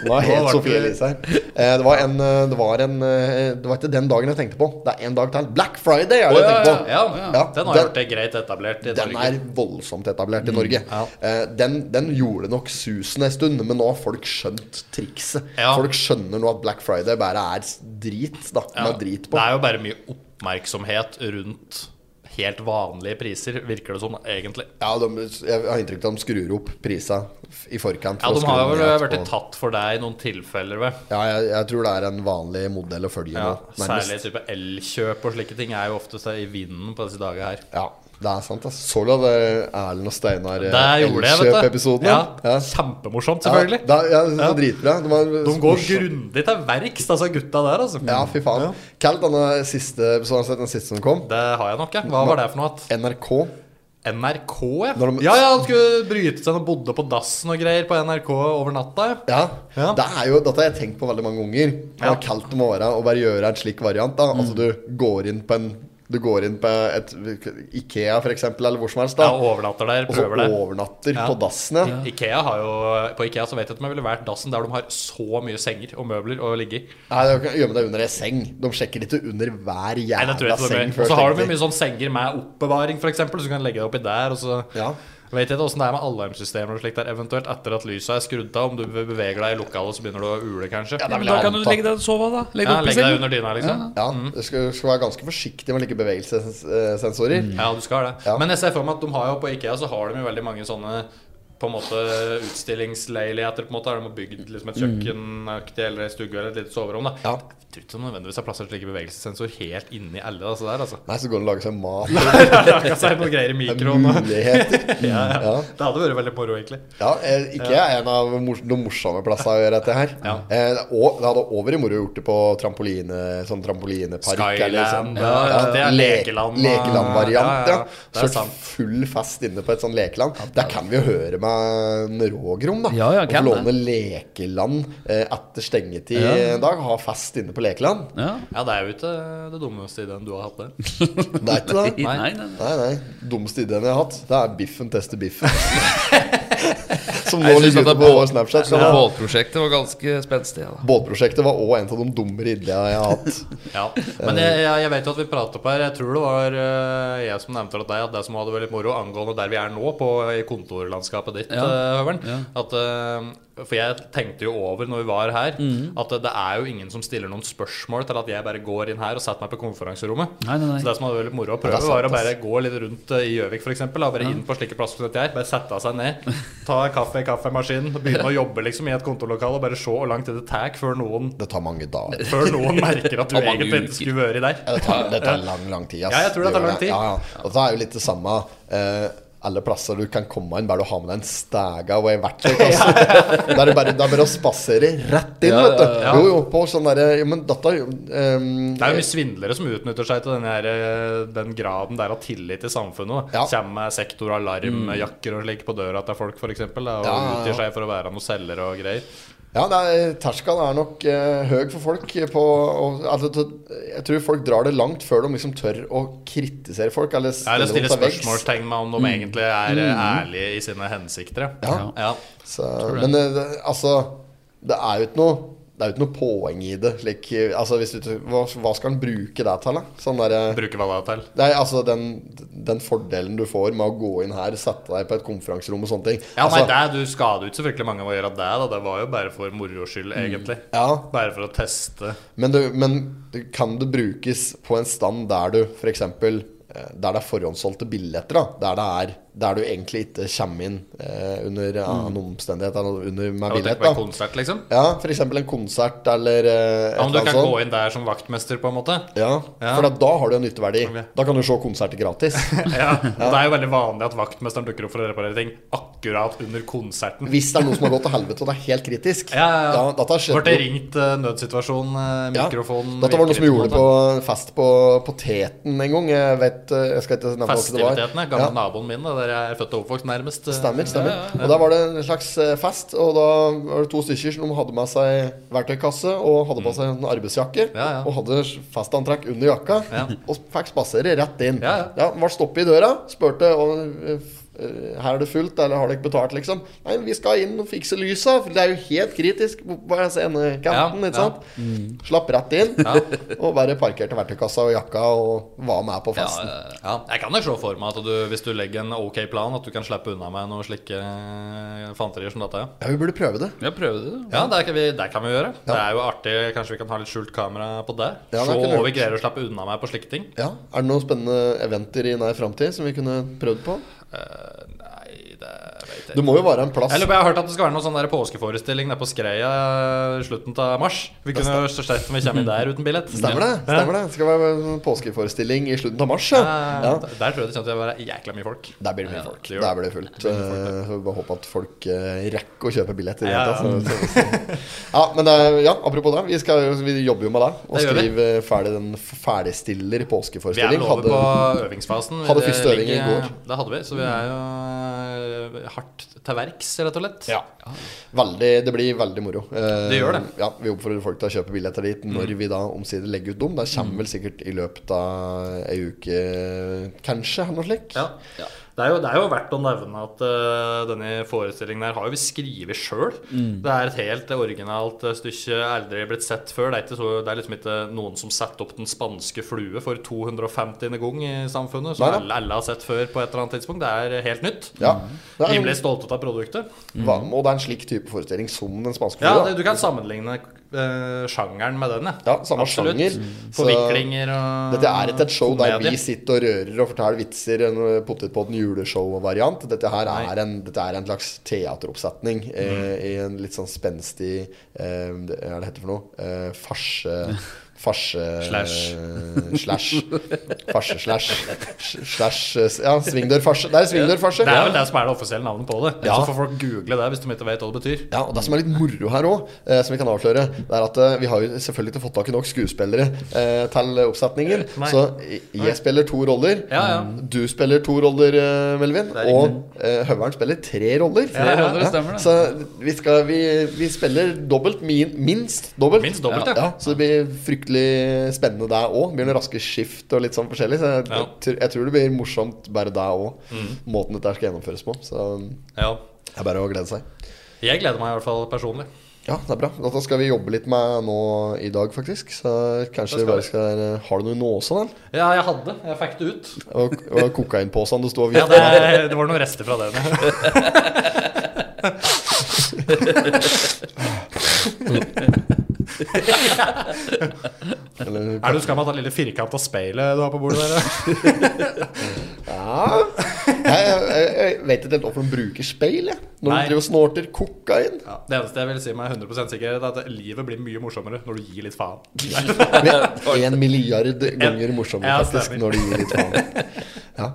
nå er helt eh, ble Sofie det- Elise her. Eh, Det var, en, eh, det, var en, eh, det var ikke den dagen jeg tenkte på. Det er en dag til. Black Friday er det jeg ja, tenker på. ja, ja. Ja, Den har den- gjort det greit etablert i Den Norge. er voldsomt etablert i Norge. Mm, ja. Eh, Den, den gjorde nok susen en stund, men nå har folk skjønt trikset. Ja. Folk skjønner nå at Black Friday bare er s- drit. da Den Ja. er drit Det på. er jo bare mye oppmerksomhet rundt helt vanlige priser, virker det som, egentlig. Ja, de, jeg har inntrykk av at de skrur opp prisa f- i forkant. Ja, for å De har skru vel ned vært på- tatt for deg i noen tilfeller, vel. Ja, jeg, jeg tror det er en vanlig modell å følge Ja, nå. særlig type elkjøp og slike ting er jo ofte så i vinden på disse dager her. Ja, det er sant. ass. Så du hadde Erlend og Steinar eh, Det gjorde jeg, vet du. Elkjøp-episoden? Ja, Kjempemorsomt, selvfølgelig. Ja, da, ja, det var Ja. Dritbra. Det var De går morsomt. grundig til verks, altså, gutta der, altså. Ja, fy faen. Kall denne siste episoden, har du sett den siste som kom. Det har jeg nok, jeg. Hva var det for noe? at- NRK. NRK, ja. Når de- Ja, ja, han skulle bryte seg inn og bodde på dassen og greier på NRK over natta, ja. Ja. Ja. Det er jo, dette har jeg tenkt på veldig mange ganger. Jeg har Ja. Mm. kalt det med åra å bare gjøre en slik variant. da Altså Du går inn på en Du går inn på et Ikea, for eksempel, eller hvor som helst. da Jeg overnatter der, Og så prøver det. overnatter Ja. på dassen. Ja. Ikea har jo, på Ikea så vet jeg ikke om jeg ville vært dassen der de har så mye senger og møbler å ligge i. Nei, du kan gjemme deg under ei seng. De sjekker ikke under hver Nei, det tror jævla jeg ikke seng. Og så har de jo tenker mye sånn senger med oppbevaring, for eksempel, så du kan legge deg oppi der, og så Ja. Vet jeg ikke åssen det er med alarmsystemer og slikt der, eventuelt etter at lyset er skrudd av, om du beveger deg i lokalet, så begynner du å ule, kanskje. Ja, Ja, det er vel Da kan du annet, da. legge deg og sove, da. Legg deg opp i legg deg sengen. under dyna, liksom. Ja, du skal, skal være ganske forsiktig med like bevegelsessensorer. Ja, du skal det. Ja. Men jeg ser for meg at de har jo på Ikea så har de jo veldig mange sånne på en måte utstillingsleiligheter. på en måte, Har de bygd liksom et kjøkkenaktig eller ei stue eller et lite soverom? da Mm. Ja. Jeg tror ikke de nødvendigvis har plassert slike bevegelsessensor helt inni alle disse der. altså Nei, så går det an å lage seg mat. Raka seg noen greier i Det er mikroen. og- muligheter. Ja, ja. Ja. Det hadde vært veldig moro, egentlig. Ja, eh, ikke jeg er en av mors de morsomme plassene å gjøre dette her. Ja. Eh, og det hadde over i moro gjort det på trampoline, sånn trampolinepark. eller sånn. Skyland. Ja, ja, det er le- lekeland. Lekelandvariant, ja. Ja, ja, det er Kjørt sant. full fest inne på et sånt lekeland. Der kan vi jo høre med en Rågrom, da. Ja, ja, og kan få det. låne lekeland eh, etter stengetid Ja. en dag. Ha fest inne på lekeland. Ja. Ja, det er jo ikke det dummeste ideen du har hatt, det. Det er ikke det. Nei, nei, nei. Nei, nei. Dummeste ideen jeg har hatt, det er biffen tester biffen. Som nå Jeg synes ligger at ute det er på bå- vår Snapchat. Så Så det båtprosjektet var ganske spenstig. da Båtprosjektet var òg en av de dummere ideene jeg har hatt. Ja. Men jeg, jeg, jeg vet jo at vi pratet opp her. Jeg tror det var eh, jeg som nevnte til deg at det som hadde vært litt moro angående der vi er nå, på, i kontorlandskapet ditt, Ja. eh, Høveren Ja. at, eh, For jeg tenkte jo over når vi var her, Mhm. at det er jo ingen som stiller noen spørsmål til at jeg bare går inn her og setter meg på konferanserommet. Nei, nei, nei. Så det som hadde vært litt moro å Ja, det prøve, er sant, var å bare ass. gå litt rundt eh, i Gjøvik, f.eks. Bare inn på slike plasser som dette her. Bare sette seg ned, ta kaffe i kaffemaskinen, begynne å jobbe liksom i et kontorlokale og bare se hvor lang tid det tar før noen Det tar mange dager. før noen merker at du Og mange uker. egentlig ikke skulle vært der. Ja, Det tar, det tar lang, lang tid. ass. Ja, jeg tror det tar gjør lang tid. Ja, ja. Og det er jo litt det samme eh, alle plasser du kan komme inn, bare du har med deg en stæga og ei verktøykasse. Da er det bare, det er bare å spasere rett inn, Ja, vet du. ja, ja. Jo, jo, på sånn derre ja, Men dette er jo, ehm, Det er jo mye svindlere som utnytter seg til den, her, eh, den graden der av tillit i samfunnet. Ja. Ja. Kommer med sektoralarmjakker og slik på døra til folk, f.eks. Og ja, ja. utgir seg for å være noen selgere og greier. Ja, det er, terskelen er nok eh, høy for folk. På, og, altså, t- jeg tror folk drar det langt før de liksom tør å kritisere folk. Eller Ja, stille, Eller stille dem til veggs. Mm. spørsmålstegn med om de egentlig er eh, ærlige i sine hensikter. Ja. ja. Så, men eh, det- altså, det er jo ikke noe det er jo ikke noe poeng i det. Slik, eh, altså, hvis du, hva, hva skal en bruke det til? da? Sånn der, eh, Bruker hva da til? nei, altså, den, den fordelen du får med å gå inn her, sette deg på et konferanserom og sånne ting. Ja, nei, altså, det, Du skader jo ikke så fryktelig mange av å gjøre det. da Det var jo bare for moro skyld, Mm. egentlig. Ja. Bare for å teste. Men, du, men du- kan det brukes på en stand der du f.eks. Der det er forhåndssolgte billetter, da. Der, det er, der du egentlig ikke kommer inn eh, under annen Mm. omstendighet eller under med Jeg billett. tenker på en da konsert, liksom. Ja, f.eks. en konsert eller eh, et Ja, om du eller annet kan sånt. gå inn der som vaktmester, på en måte. Ja, Ja. for da, da har du en nytteverdi. Ok. Da kan du se konserter gratis. Ja, Det er jo veldig vanlig at vaktmesteren dukker opp for å reparere ting akkurat under konserten. Hvis det er noe som har gått til helvete, og det er helt kritisk. Ja, ja, ja. dette har skjedd Ble det noe- ringt eh, nødsituasjon, eh, Ja. mikrofonen sånn. Dette var noe som virker vi gjorde ikke på fest på Poteten en gang. Jeg vet eh, jeg skal ikke nevne hva det var. Festivitetene. Gamle naboen min, det, Dere er født og oppvokst nærmest. eh, Stemmer. stemmer Og da var det en slags eh, fest, og da var det to stykker som hadde med seg verktøykasse og hadde på seg en arbeidsjakke Mm. Ja, ja. og hadde festantrekk under jakka Ja. og fikk spasere rett inn. Ja, ja. Var stoppet i døra, spurte om eh, her er det fullt, eller har dere ikke betalt, liksom. Nei, vi skal inn og fikse lysa, for det er jo helt kritisk på på denne kanten, Ja, Mm. ikke sant. Slapp rett inn, og bare parkerte verktøykassa og jakka og var med på Ja, festen. eh, ja. Jeg kan nok se for meg at du, hvis du legger en ok plan, at du kan slippe unna med noen slike eh, fanterier som dette. ja. Ja, vi burde prøve det. Ja, prøve det, da. Ja, det kan vi, det kan vi gjøre. Det er jo artig. Kanskje vi kan ha litt skjult kamera på det. Ja, det se kunne vi hva vi gjort. greier å slappe unna med på slike ting. Ja, Er det noen spennende eventer i nær framtid som vi kunne prøvd på? Eh, nei, det vet jeg Det ikke. må jo være en plass. Jeg lurer på, jeg har hørt at det skal være noen sånn der påskeforestilling nede på Skreia i slutten av mars. Vi kunne jo så sterkt om vi kommer inn der uten billett. Stemmer det? stemmer det Det skal være en sånn påskeforestilling i slutten av mars. Ja. Ja, Ja. Der Eh, der tror jeg det kommer til å være jækla mye folk. Der blir det mye Ah, Ja, folk. det gjør Der blir det fullt. Eh, så vi Bare håpe at folk eh, rekker å kjøpe billett. i det Ja, hele tatt, så- så- så- Ja, men eh, ja, apropos det. Vi, skal, jo- vi jobber jo med det. Og Det gjør vi. skriver ferdig den f- ferdigstiller Vi er påskeforestilling. vel over på Hadde, øvingsfasen. hadde Det første øving i ligger- går. Det hadde vi, så vi er jo eh, hardt til verks, rett og slett. Ja. veldig, det blir veldig moro. Eh, Det Mm. gjør det. Ja, vi oppfordrer folk til å kjøpe billetter dit når vi da omsider legger ut dem. Det Mm. kommer vel sikkert i løpet av ei uke, kanskje, eller noe slikt. Ja. Det, er jo, det er jo verdt å nevne at eh, denne forestillingen her har jo vi skrevet sjøl. Mm. Det er et helt originalt eh, stykke, aldri blitt sett før. Det er, ikke så, det er liksom ikke noen som setter opp Den spanske flue for 250. gang i samfunnet, som Nei da. alle, alle har sett før på et eller annet tidspunkt. Det er helt nytt. Ja. Det er- Mm. Rimelig stolte av produktet. Hva, og det er en slik type forestilling som den spanske Ja, flua. det, du kan sammenligne eh, sjangeren med den, Ja, samme sjanger. Mm. Så Forviklinger og Dette er ikke et show der komedie. vi sitter og rører og forteller vitser. En eh, potetpodden juleshow-variant. Dette her Nei. Mhm. er en, dette er en slags teateroppsetning eh, i en litt sånn spenstig eh, det- Hva er det heter for noe? Eh, farse... Farse... Slash. eh, Slash. Farse-slash. Slash eh, s- Ja, svingdørfarse. Det er svingdørfarse. Det er Ja. vel det som er det offisielle navnet på det. Ja. Så får folk google det hvis de ikke vet hva det betyr. Ja, og Det som er litt moro her òg, eh, som vi kan avsløre, det er at eh, vi har jo selvfølgelig ikke fått tak i nok skuespillere eh, til oppsetningen. Nei. Så jeg spiller to roller. Ja, ja. Du spiller to roller, eh, Melvin. Det er Og eh, Høveren spiller tre roller. Tre roller, det stemmer det. Så vi, skal, vi, vi spiller dobbelt, min, minst dobbelt. Minst dobbelt, ja. ja. Så det blir fryktelig spennende der òg. Blir noen raske skift og litt sånn forskjellig. Så jeg, Ja. Mm. jeg, tror- jeg tror det blir morsomt bare der òg. Måten dette her skal gjennomføres på. Så det Ja. er bare å glede seg. Jeg gleder meg i hvert fall personlig. Ja, det er bra. Dette skal vi jobbe litt med nå i dag, faktisk. Så kanskje Det skal vi bare vi. skal eh, Har du noe nåse, da? Ja, jeg hadde. Jeg fikk det ut. Og, og kokainposen du sto og Ja, vifta det, med? det var noen rester fra den. ja. Eller- Er du skam av det lille firkanta speilet du har på bordet der? Ja. Jeg, jeg, jeg vet ikke helt hvorfor de bruker speil, jeg. Når Nei. de driver og snorter kokain. Ja. Det eneste jeg vil si meg 100 sikker, er at livet blir mye morsommere når du gir litt faen. Én milliard ganger morsommere, Ja, faktisk, stemmer. når de gir litt faen. Ja.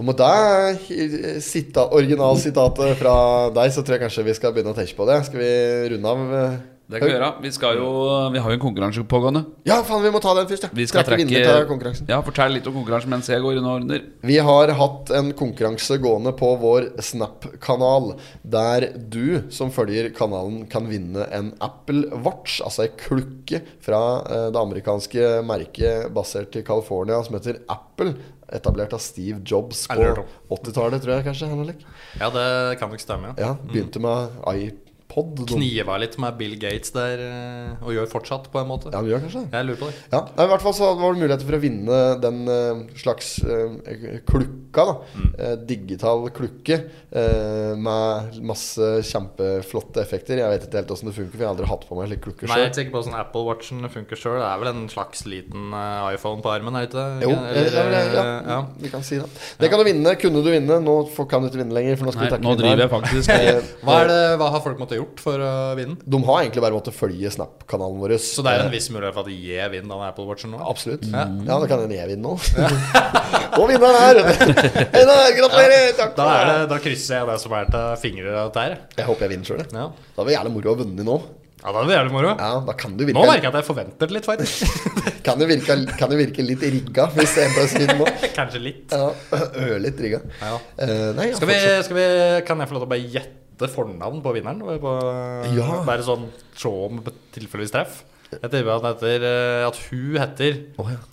Og med det eh, sita, originalsitatet fra deg, så tror jeg kanskje vi skal begynne å tenke på det. Skal vi runde av? eh, Det kan vi gjøre. Vi, skal jo, vi har jo en konkurranse pågående. Ja, faen, vi må ta den først, ja. Vi skal trekke, vinner til konkurransen. Ja, Fortell litt om konkurransen mens jeg går unna og ordner. Vi har hatt en konkurranse gående på vår Snap-kanal, der du som følger kanalen kan vinne en Apple Watch, altså ei klukke fra eh, det amerikanske merket basert i California som heter Apple. Etablert av Steve Jobs på Aldri hørt om. 80-tallet, tror jeg kanskje. Henrik. Ja, det kan nok stemme. ja. Ja, Begynte med iPod. de- Kniva litt med Bill Gates der, eh, og gjør fortsatt, på en måte. Ja, han gjør kanskje det. Jeg lurer på det. Ja, nei, I hvert fall så var det muligheter for å vinne den eh, slags eh, klukka. da Mm. Eh, Digital klukke eh, med masse kjempeflotte effekter. Jeg vet ikke helt åssen det funker, for jeg har aldri hatt på meg slike klukker Nei, jeg er sjøl. ikke sikker på hvordan Apple Watchen funker sjøl. Det er vel en slags liten eh, iPhone på armen, er det ikke det? Jo, Eller, eller, eller, ja, eh, ja. vi kan si det. Det kan du vinne. Kunne du vinne? Nå får- kan du ikke vinne lenger. For nå, skal Nei, vi trekke nå vinneren. driver jeg faktisk Eh, Hva, er det, hva har folk måttet gjort for å vinne? De har egentlig bare måttet følge Snap-kanalen vår. Eh, Så det er en viss mulighet for at jeg vinner den Apple Watchen nå? Absolutt. Ja, det kan hende jeg vinner nå. og vinneren er Einar! Gratulerer! Takk. Da, er det, da krysser jeg det som er til fingrene der. Jeg håper jeg vinner sjøl, jeg. Ja. Da var det jævlig moro å ha vunnet nå. Ja, det er jævlig moro. Ja, da kan du virke Nå merker jeg at jeg forventer det litt, faktisk. Kan det virke, kan det virke litt rigga, hvis jeg bare sier det nå. Kanskje litt. Ja, ørlitt rigga. Ja. Eh, nei, ja, Skal vi, fortsatt. skal vi, kan jeg få lov til å bare gjette fornavn på vinneren? Og Bare, Ja. Bare sånn se om tilfeldigvis treff. Jeg tipper at, han heter, eh, at hun heter Å, ja.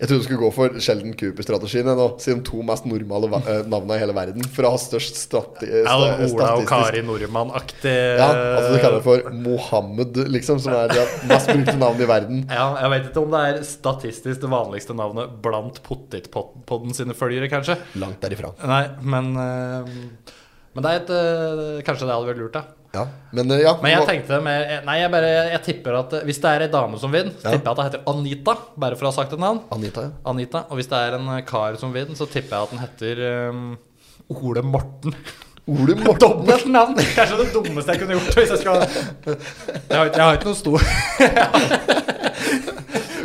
Jeg trodde du skulle gå for Sheldon Cooper-strategien jeg, nå, siden to mest normale va- eh, navna i hele verden. For å ha størst strati eh, Ja, sta- Ola og statistisk- Kari eh, Nordmann-aktig. Ja, altså du kaller det for Mohammed, liksom, som er det mest brukte navnet i verden. eh, Ja, jeg vet ikke om det er statistisk det vanligste navnet blant Pottitpodden sine følgere, kanskje. Langt derifra. Nei, men eh, Men det er et eh, Kanskje det hadde vært lurt, da. Ja, men eh, ja. Men jeg nå- tenkte mer Nei, jeg bare Jeg tipper at eh, hvis det er ei dame som vinner, så Ja. tipper jeg at det heter Anita, bare for å ha sagt et navn. Anita, ja. Anita. Og hvis det er en eh, kar som vinner, så tipper jeg at den heter eh, Ole Morten. Ole Morten. Dobbelt navn! Kanskje det dummeste jeg kunne gjort. Hvis jeg, skal... jeg, har, ikke- jeg har ikke noe stor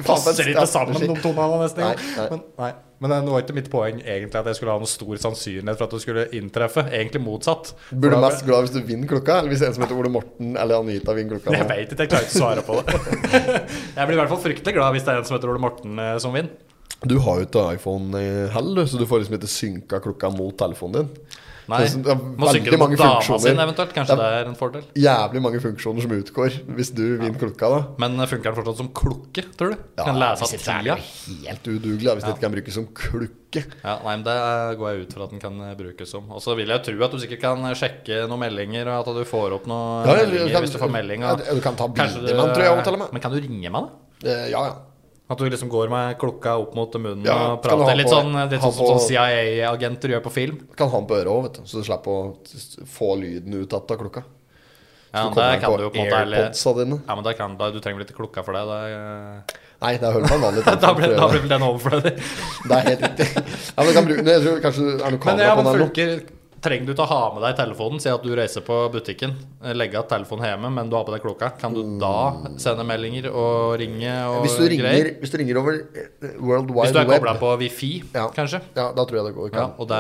Passer ikke sammen, de to navnene, nesten. Nei, nei. engang. Men, nei. Men eh, det var ikke mitt poeng egentlig at jeg skulle ha noe stor sannsynlighet for at det skulle inntreffe. Egentlig motsatt. Burde du For da- mest glad hvis du vinner klokka, eller hvis en som heter Ole Morten eller Anita vinner klokka? Jeg vet ikke, jeg klarer ikke å svare på det. Jeg blir i hvert fall fryktelig glad hvis det er en som heter Ole Morten eh, som vinner. Du har jo ikke iPhone eh, heller, du, så du får liksom ikke synka klokka mot telefonen din. Nei, Det er sånn- det er må veldig synke det mange mot dama funksjoner. sin eventuelt. Kanskje Det det er- er en fordel. Jævlig mange funksjoner som utgår hvis du vinner klokka, da. Men eh, funker den fortsatt som klokke, tror du? Ja, kan lese av hvis ikke er det tida? Helt udugelig da, hvis det ikke kan brukes som klukke. Ja, nei, men Det eh, går jeg ut fra at den kan eh, brukes som. Og så vil jeg tro at du sikkert kan eh, sjekke noen meldinger, og at du får opp noen Ja, ja, du meldinger kan- hvis du får melding. ja, du kan ta Kanskje eh, bilder med den, tror jeg, og til og med. Men kan du ringe med den? Eh, ja, ja. At du liksom går med klokka opp mot munnen Ja, og kan du ha prater litt på- sånn, litt ha sånn som på- sånn CIA-agenter gjør på film? Kan ha den på øret òg, vet du. Så du slipper å s- få lyden ut av klokka. Ja, Så men det kommer den kan på du jo på en måte eller- AirPodsa dine. Ja, men da kan, da, du trenger vel ikke klokka for det. Da, eh, Nei, det er hørt på en vanlig da, ble, telefon, da tror ble jeg. vel den overflødig. Det er helt riktig. Ja, men du kan bruke, Nei, jeg tror kanskje det er noe Men kamera ja, på men den. eller noe. funker, trenger du ikke å ha med deg telefonen? Si at du reiser på butikken, eh, legger igjen telefonen hjemme, men du har på deg klokka. Kan du da sende meldinger og ringe og Mm. Hvis du, ringer, greier? hvis du ringer over eh, World Wide Hvis du er Web kobla på wifi, Ja. kanskje? Ja, da tror jeg det går. Ja, Kan. og det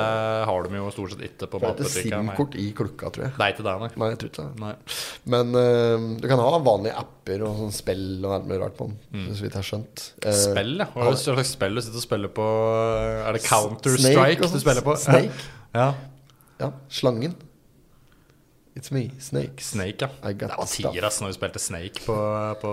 har de jo stort sett ikke For på det er ikke matbutikken. nei. SIM-kort i klokka, tror jeg. Nei, ikke det, nei. Nei, jeg tror ikke det. nei. Men eh, du kan ha vanlige apper og sånn spill og alt mulig rart på den. Så vidt jeg har skjønt. Eh, Mm. Spill, ja. Hva er det slags spill du sitter og spiller på? Eh, Er det Snake og Counter-Strike du sånt. spiller på? Snake. Ja. Ja, slangen. It's me, Snakes. Snake, ja. I got Det var stuff. tiras når vi spilte Snake på, på,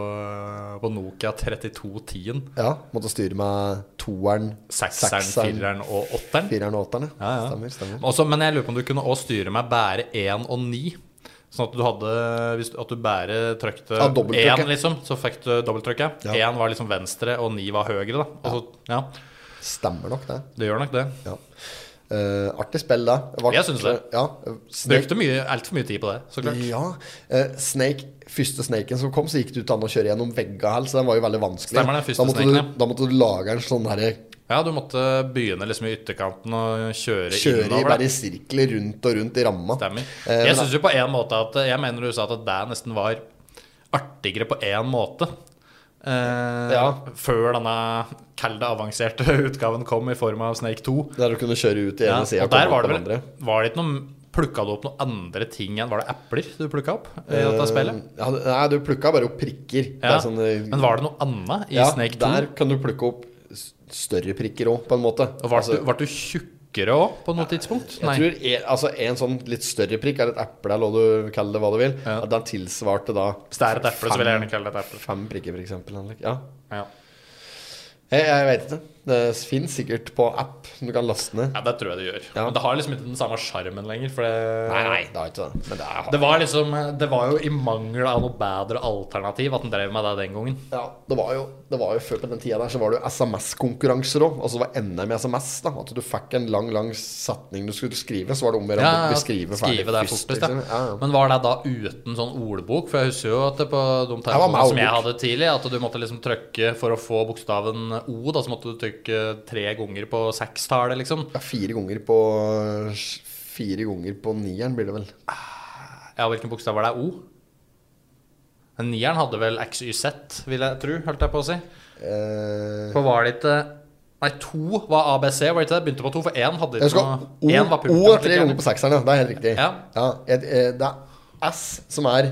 på Nokia 3210-en. Ja, måtte styre med toeren, Sekseren, fireren og åtteren. fireren og åtteren. Ja, ja. Stemmer, stemmer. Også, men jeg lurer på om du kunne også styre med bare én og ni. Sånn at du hadde hvis, du- At du bare trykte Ja, dobbelttrykk, én, ja. liksom, så fikk du dobbelttrykket. Ja. Én var liksom venstre, og ni var høyre. Da. Og så, ja, Stemmer nok det. det gjør nok det. Ja. Eh, artig spill, da. Var- Jeg synes det. Ja, eh, Snake, Brukte mye- altfor mye tid på det, så klart. ja. Eh, Snake, første snaken som kom, så gikk det ut an å kjøre gjennom veggene her, så den var jo veldig vanskelig. Stemmer det, første da, måtte snaken, du, ja. da måtte du lage en sånn herre Ja, du måtte begynne liksom i ytterkanten og kjøre, Kjøre i Eh, innover. da. bare i sirkler rundt og rundt i ramma. Stemmer. Eh, men Jeg synes jo på en måte at eh, Jeg mener du sa at det nesten var artigere på én måte. Eh, Ja. Før denne kall det avanserte utgaven kom i form av Snake 2. Der du kunne kjøre ut i Ja, ene sida og der var det vel Var det ikke noe Plukka du opp noen andre ting enn Var det epler du plukka opp eh, i dette spillet? Ja, nei, du plukka bare opp prikker. Eh, Det Ja. er sånn, eh, Men var det noe annet i Snake 2? Der kan du plukke opp s- større prikker òg, på en måte. Og Ble Altså, du, var du tjukkere òg på noe tidspunkt? jeg tror en, altså en sånn litt større prikk er et eple, eller hva du kaller det hva du vil. Ja. At den tilsvarte da Hvis det er et eple, så vil jeg gjerne kalle det et eple. fem prikker, for eksempel. Henrik. Ja. Ja. Jeg, jeg vet ikke. Det finnes sikkert på app som du kan laste ned. ja, det tror jeg det gjør. Ja. Men det har liksom ikke den samme sjarmen lenger. For det, det har ikke det. Men det er Det var liksom Det var jo i mangel av noe bedre alternativ at den drev med det den gangen. ja, det var, jo, det var jo før på den tida der så var det jo SMS-konkurranser òg. Altså det var NM i SMS. da At du fikk en lang lang setning du skulle skrive, så var det om å gjøre å beskrive ferdig skrive det først, fortest, ja. liksom. Ja, ja. Men var det da uten sånn ordbok? For jeg husker jo at det på var de med telefonene som jeg ordbok. hadde tidlig, at du måtte liksom trykke for å få bokstaven O, da, så måtte du trykke tre ganger på sekstallet, liksom. Ja, fire ganger på Fire ganger på nieren blir det vel. Ja, hvilken bokstav var det? O? Men Nieren hadde vel XYZ, vil jeg tro, holdt jeg på å si. Eh, For var det ikke Nei, to var ABC, var det ikke det? Begynte på to, for én hadde jeg ikke husker, noe o, én var o punktum, er tre eller? ganger på sekseren, ja. Det er helt riktig. Ja. Ja, et- eh, det er S som er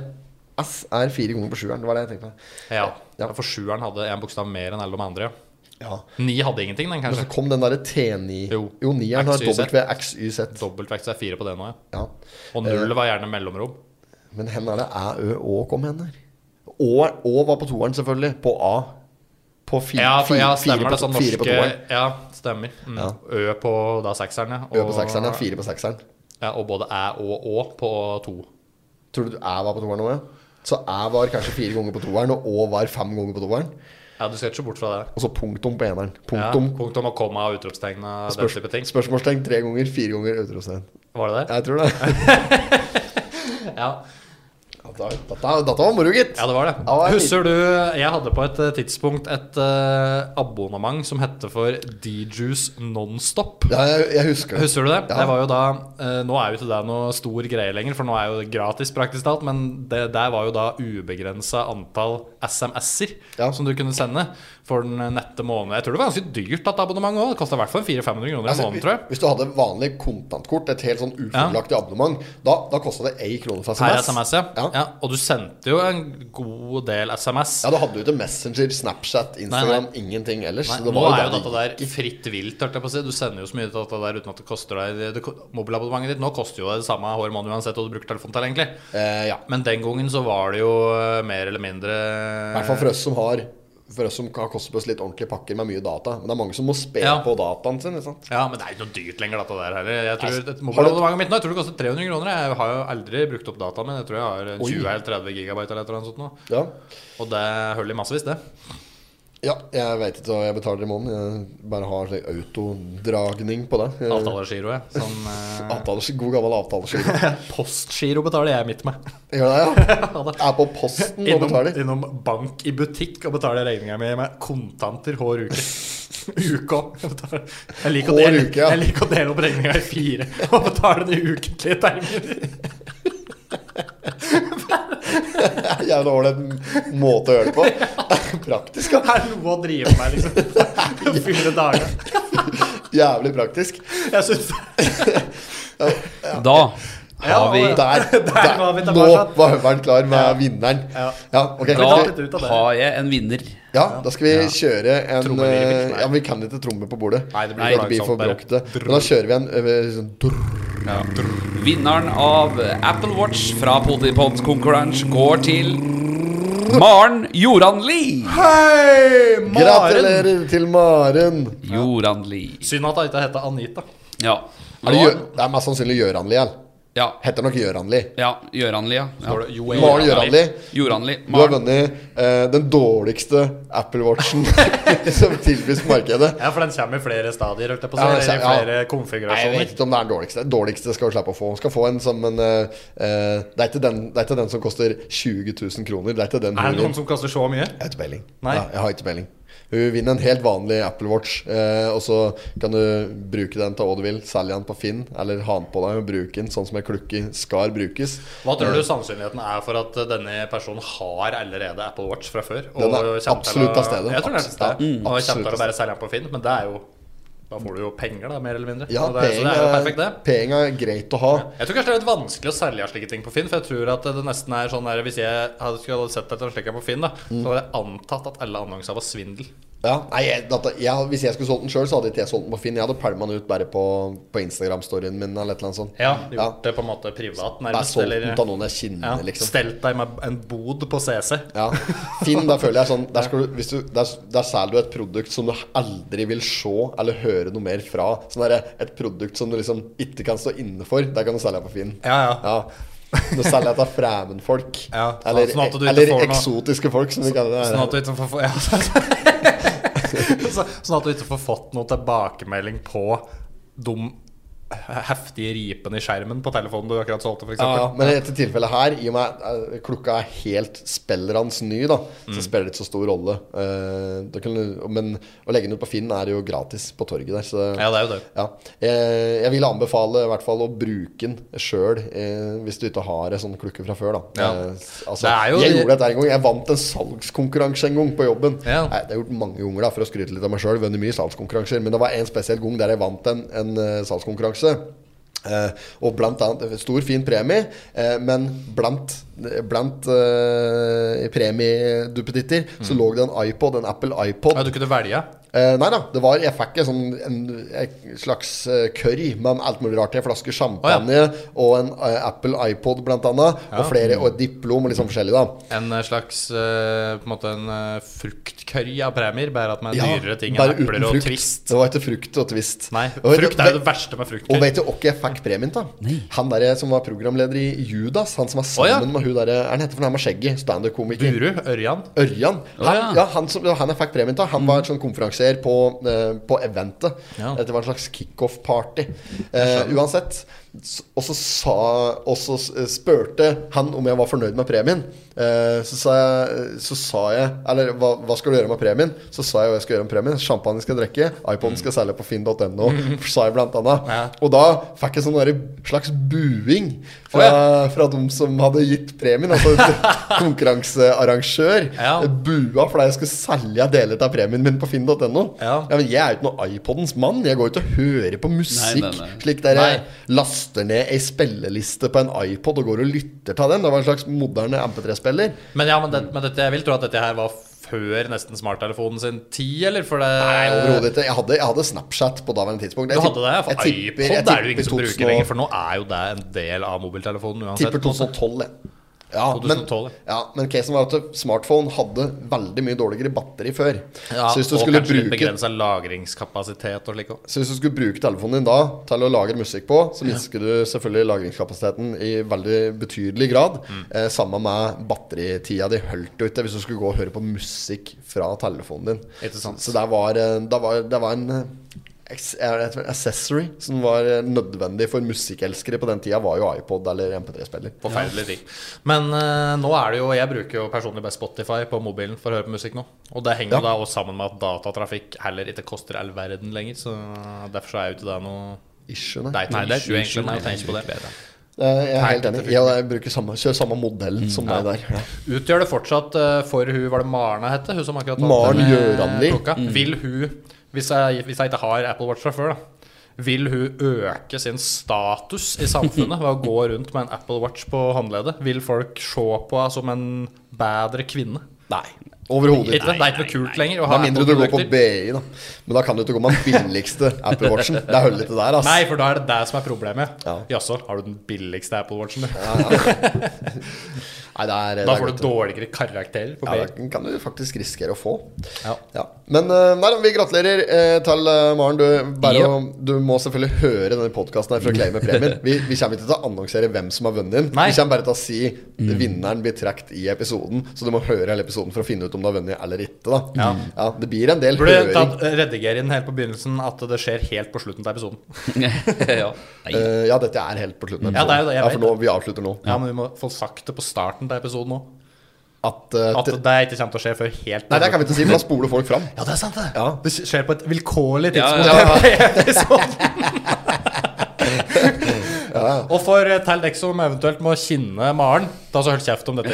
S er fire ganger på sjueren. Det var det jeg tenkte på. Ja. Ja. For sjueren hadde en bokstav mer enn alle de andre. ja. Ja. Ni hadde ingenting, den, Men så kanskje. kom den derre T9 Jo. Jo, nieren har XYZ. WXYZ. Dobbeltvekt, så er fire på det nå, ja. Ja. Og null var gjerne mellomrom. Men hen er det Æ, Ø, Å kom hen her. Å, er- å var på toeren, selvfølgelig. På A. På fi, Ja, for, fi- ja fire, stemmer det. på, Sånn fire på norske toeren. Ja, stemmer. Mm. Ja. Ø på da sekseren, ja. Ø på sekseren ja. Fire på sekseren. ja. Og både æ og å på to. Tror du Æ var på toeren òg? Ja? Så Æ var kanskje fire ganger på toeren, og Å var fem ganger på toeren. Ja, du skal ikke se bort fra det. Og så punktum på eneren. Ja, Punktum. punktum og komma og utropstegn og den Spørs, type ting. spørsmålstegn tre ganger, fire ganger utropstegn. Var det det? Jeg tror det. Ja. Dette, dette, dette var moro, gitt. Ja, det var det. Ja, det er Husker du jeg hadde på et eh, tidspunkt et eh, abonnement som hette for DJus Nonstop? Ja, jeg, jeg husker det. Husker du det? Ja. Det var jo da eh, Nå er jo ikke det noe stor greie lenger, for nå er jo det gratis praktisk talt, men det der var jo da ubegrensa antall SMS-er Ja. som du kunne sende for den nette måneden. Jeg tror det var ganske dyrt, dette abonnementet òg. Det kosta i hvert fall 400-500 kroner i Altså, måneden, tror jeg. hvis du hadde vanlig kontantkort, et helt sånn ufordelaktig abonnement, da, da kosta det én krone for Per SMS. SMS, ja. Ja. ja. Og du sendte jo en god del SMS. Ja, du hadde jo ikke Messenger, Snapchat, Instagram, ingenting ellers. Nei, så nå er jo det dette der fritt vilt, hørte jeg på å si. Du sender jo så mye til dette der uten at det koster deg det, ko- Mobilabonnementet ditt nå koster jo det samme hver måned uansett hva du bruker telefonen til, egentlig. Eh, ja. Men den gangen så var det jo eh, mer eller mindre I hvert fall for oss som har For oss som har kostet oss litt ordentlige pakker med mye data. Men det er mange som må spe Ja. på dataen sin. Ikke sant? Ja, men det er ikke noe dyrt lenger, dette der heller. Jeg Nei, tror et har Mobilabonnementet mitt nå, jeg tror det koster 300 kroner. Jeg har jo aldri brukt opp dataen min. Jeg tror jeg har en Oi. 20 eller 30 gigabyte eller et eller annet sånt nå. Ja. Og det holder i massevis, det. ja, jeg vet ikke hva jeg betaler i måneden. Jeg bare har slik autodragning på det. Eh, Ah. Avtalegiro, jeg. Sånn eh, avtales- god gammel avtaleskille. postgiro betaler jeg mitt med. Gjør det, ja? Ja, da. Er på posten og Innom, betaler. innom bank i butikk og betaler regninga mi med kontanter hver uke. Uke òg. Jeg liker å Hver dele, uke, ja. jeg liker å dele opp regninga i fire og betale den i ukentlige termer. Jævla ålreit måte å gjøre det på. Praktisk, Det er noe å drive med, liksom. Fylle dager. ja. Jævlig praktisk. Jeg syns Da har Ja, vi og- Der, der, var vi nå tilbake. var høveren klar med vinneren. Ja. Ja, ok. Da tar litt ut av det. har jeg en vinner. Ja, da skal vi kjøre en Trommevirvel. eh, Ja, men vi kan ikke tromme på bordet. Nei, det blir Nei, det for blir for langsomt, bråkete. Men da kjører vi en eh, sånn drrr. Vinneren av Apple Watch fra Potipod-konkurranse går til Maren Joranli. Hei, Maren! Gratulerer til Maren! Joranli. Synd at hun ikke heter Anita. Ja. Er det, Gjø det er mest sannsynlig Gjøranli. eller? Ja. Heter nok Gjøranli. ja. Gjøranli, ja. ja. Var det Jo Eira Maren Gjøranli. Joranli. Du har Maren. vunnet eh, den dårligste Apple Watchen som tilbys markedet. Ja, for den kommer i flere stadier, holdt jeg på å Ja, si. den eller I kommer- flere Nei, jeg vet konfigurasjoner. ikke om det er den dårligste. Den dårligste skal du slippe å få. Hun skal få en som en eh, eh, det, er ikke den, det er ikke den som koster 20 000 kroner. Det er ikke den Er hun det noen vinner. som kaster så mye? Jeg har ikke peiling. Nei. Ja, jeg har ikke peiling. Hun vinner en helt vanlig Apple Watch, eh, og så kan du bruke den til hva du vil. Selge den på Finn, eller ha den på deg og bruke den sånn som ei klukke skal brukes. Hva tror Eh. du sannsynligheten er for at denne personen har allerede Apple Watch fra før? Den er kommer til absolutt å- av stedet. Jeg tror den er Ja, til stede. mm, Og kommer absolutt til av å bare selge den på Finn, men det er jo Da får du jo penger, da, mer eller mindre. Ja, Og det, er- så det er jo perfekt, penger det. penger er greit å ha. Jeg tror kanskje det er litt vanskelig å selge slike ting på Finn, for jeg tror at det nesten er sånn der Hvis jeg hadde skulle hadde sett etter slik en på Finn, da, Mm. så hadde jeg antatt at alle annonser var svindel. Ja, nei, jeg, dette, jeg, Hvis jeg skulle solgt den sjøl, så hadde ikke jeg solgt den på Finn. Jeg hadde pælma den ut bare på, på Instagram-storyen min eller et eller annet sånt. Ja, Gjort det på en måte privat, Bare nærmest. solgt den Eller til noen jeg kjenner, ja, liksom. stelt deg med en bod på CC. Ja. Finn, der føler jeg sånn Der, skal du, hvis du, der, der selger du et produkt som du aldri vil se eller høre noe mer fra. Sånn der, Et produkt som du liksom ikke kan stå inne for. Der kan du selge på Finn. Ja, ja. Nå selger jeg til fremmedfolk. Ja, Eller, sånn at du ikke eller får noe- eksotiske folk, som vi kaller det. her. Sånn at du ikke får, få- ja, så- sånn at du ikke får fått noen tilbakemelding på de heftige ripene i skjermen på telefonen du akkurat solgte, f.eks. Ja, men i dette tilfellet her, i og med at eh, klokka er helt spillerens ny, da, Mm. så spiller det ikke så stor rolle. Eh, da kan, du- men å legge den ut på Finn er jo gratis på torget der, så Ja, det er jo det. ja. Eh, jeg vil anbefale i hvert fall å bruke den sjøl, eh, hvis du ikke har en sånn klukke fra før. Da. Ja. Eh, altså, Det er jo- jeg gjorde dette her en gang. Jeg vant en salgskonkurranse en gang på jobben. Ja. Nei, det har jeg gjort mange ganger da, for å skryte litt av meg sjøl. Vunnet mye salgskonkurranser. Men det var en spesiell gang der jeg vant en, en eh, salgskonkurranse. Eh, og blant annet Stor, fin premie, eh, men blant, blant eh, premieduppeditter Mm. så lå det en iPod, en Apple iPod. Ja, du kunne velge. Eh, nei da, det var, jeg fikk en, sånn, en, en slags uh, curry med alt mulig rart i. En flaske champagne og en eh, Apple iPod blant annet. Og flere, og et diplom og litt sånn forskjellig, da. En eh, slags eh, På en måte en eh, fruktcurry av premier, bare at med Ja, dyrere ting enn bare uten epler og frukt. twist. Det var ikke frukt og twist. Nei, Og vet- frukt er jo det verste med Og fruktcurry. vet du hva jeg fikk premien til? Nei. Han der som var programleder i Judas. Han som var sammen Å, ja. med hun der Er han heter for noe? Han med skjegget? Standup-komiker. Buru, Ørjan. Ørjan. Han, ja. ja. han, som, det var han jeg fikk premien til. Han var en sånn konferansier på, eh, på eventet. Mm. Ja. Dette var en slags kickoff-party. Eh, uansett. s- Og så sa Og så s- eh, spurte han om jeg var fornøyd med premien. Eh, så, sa jeg, så sa jeg Eller hva, hva skal du gjøre med premien? Så sa jeg hva jeg skal gjøre med premien. Champagne skal jeg drikke. iPoden skal jeg selge på finn.no, sa jeg blant annet. Mm. Ja. Og da fikk jeg sånn derre slags buing fra, fra de som hadde gitt premien. Altså konkurransearrangør. Ja. Eh, Bua fordi jeg skulle selge deler av premien min på finn.no. Ja. Ja. men jeg er jo ikke noen iPodens mann. Jeg går jo ikke og hører på musikk Nei, nei, nei. slik der jeg Nei. laster ned ei spilleliste på en iPod og går og lytter til den. Det var en slags moderne MP3-spiller. Men ja, men, det, men dette, jeg vil tro at dette her var før nesten smarttelefonen sin tid, eller? For det Nei, Eh, overhodet ikke. Jeg hadde, jeg hadde Snapchat på daværende tidspunkt. Du Jeg hadde det? tipp- For jeg tipper- jeg iPod er det jo tipper ingen som 2000 bruker lenger, for nå er jo det en del av mobiltelefonen uansett. Tipper 2012, jeg. Ja, 2012, men, ja, men casen var at smartphone hadde veldig mye dårligere batteri før. Ja, så hvis du og skulle kanskje litt bruke begrensa lagringskapasitet og slikt òg. Så hvis du skulle bruke telefonen din da til å lagre musikk på, så minsker du selvfølgelig lagringskapasiteten i veldig betydelig grad. Mm. Eh, Samme med batteritida di holdt jo ikke hvis du skulle gå og høre på musikk fra telefonen din. Ikke sant. Så det var, eh, det var, det var en eh, ex- er det et accessory som var eh, nødvendig for musikkelskere på den tida, var jo iPod eller MP3-spiller. Forferdelig ting. Men eh, nå er det jo Jeg bruker jo personlig bare Spotify på mobilen for å høre på musikk nå. Og det henger Ja. jo da også sammen med at datatrafikk heller ikke koster all verden lenger. Så derfor så er jo ikke det noe Issue, nei. Det er ikke Nei, noe det er issue, issue, egentlig, når nei, jeg tenker på det. Eh, Jeg er helt Nei, enig. dette Jeg, jeg bruker samme, kjører samme Mm. modell som deg der. Ja. Utgjør det fortsatt eh, for hun Var det Maren jeg hette? Hun som akkurat vant Maren den, eh, Gjøranli. klokka. Vil hun, hvis jeg, hvis jeg ikke har Apple Watch fra før, da vil hun øke sin status i samfunnet ved å gå rundt med en Apple Watch på håndleddet? Vil folk se på henne som en bedre kvinne? Nei. Overhodet Ikke, ikke. det er ikke noe kult lenger å Med ha mindre du går på Apple-produkter. BI, da. Men da kan du ikke gå med den billigste Apple Watchen. Det holder ikke der, ass. Nei, for da er det det som er problemet. Ja. Jaså, har du den billigste Apple Watchen? du? Nei, det er, Da får du dårligere karakterer på ja, BI. Den kan du faktisk risikere å få. Ja. Ja. Men eh, nei, da, vi gratulerer eh, til eh, Maren. Du, bare å- du må selvfølgelig høre denne podkasten for å claime premien. Vi, vi kommer ikke til å annonsere hvem som har vunnet den. Nei. Mm. Vi kommer bare til å si vinneren blir trukket i episoden. Så du må høre hele episoden for å finne ut om du har vunnet eller ikke. Da. Ja. det blir en del Burde høring. tatt redigere inn helt på begynnelsen at det skjer helt på slutten av episoden. ja. Nei. Eh, ja, dette er helt på slutten. av Ja, det er jo det, jeg ja, for vet nå, vi avslutter nå. Ja, men vi må få sagt det på starten av episoden òg. At, eh, At til- det ikke kommer til å skje før helt Nei, det kan vi ikke si, for da spoler folk fram. Ja, det er sant, det. Det skjer på et vilkårlig Ja, tidspunkt. ja, i episoden. Og for eh, til dere som eventuelt må kinne Maren, da så hold kjeft om dette.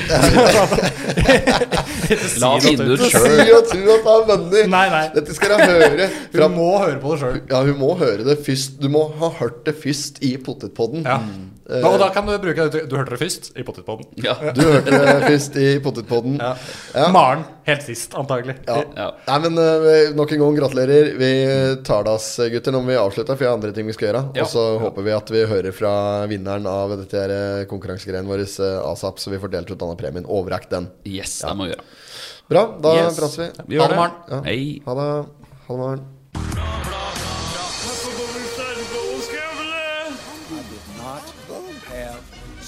Ikke si La noe finne til- ut Si sjøl. og tro at han er venner. Nei, nei. Dette skal jeg høre fra Hun må høre på det sjøl. Ja, hun må høre det først. Du må ha hørt det først i potetpodden. Ja. Eh, Og da kan du bruke det Du hørte det først i Potetpodden. Ja. Du hørte det først i potetpodden. Ja. Maren helt sist, antagelig. Ja. Nei, men eh, nok en gang gratulerer. Vi tar det oss, eh, gutter, når vi avslutter, for jeg har andre ting vi skal gjøre. Ja. Og så håper vi at vi hører fra vinneren av dette her, eh, konkurransegreien vår eh, ASAP, så vi får delt ut denne premien. Overrekk den. Yes, det må vi gjøre. Bra, da Yes. prates vi. Vi gjør Ha det, det. Ja. Hei. Ha det. Ha det, Maren. I did not have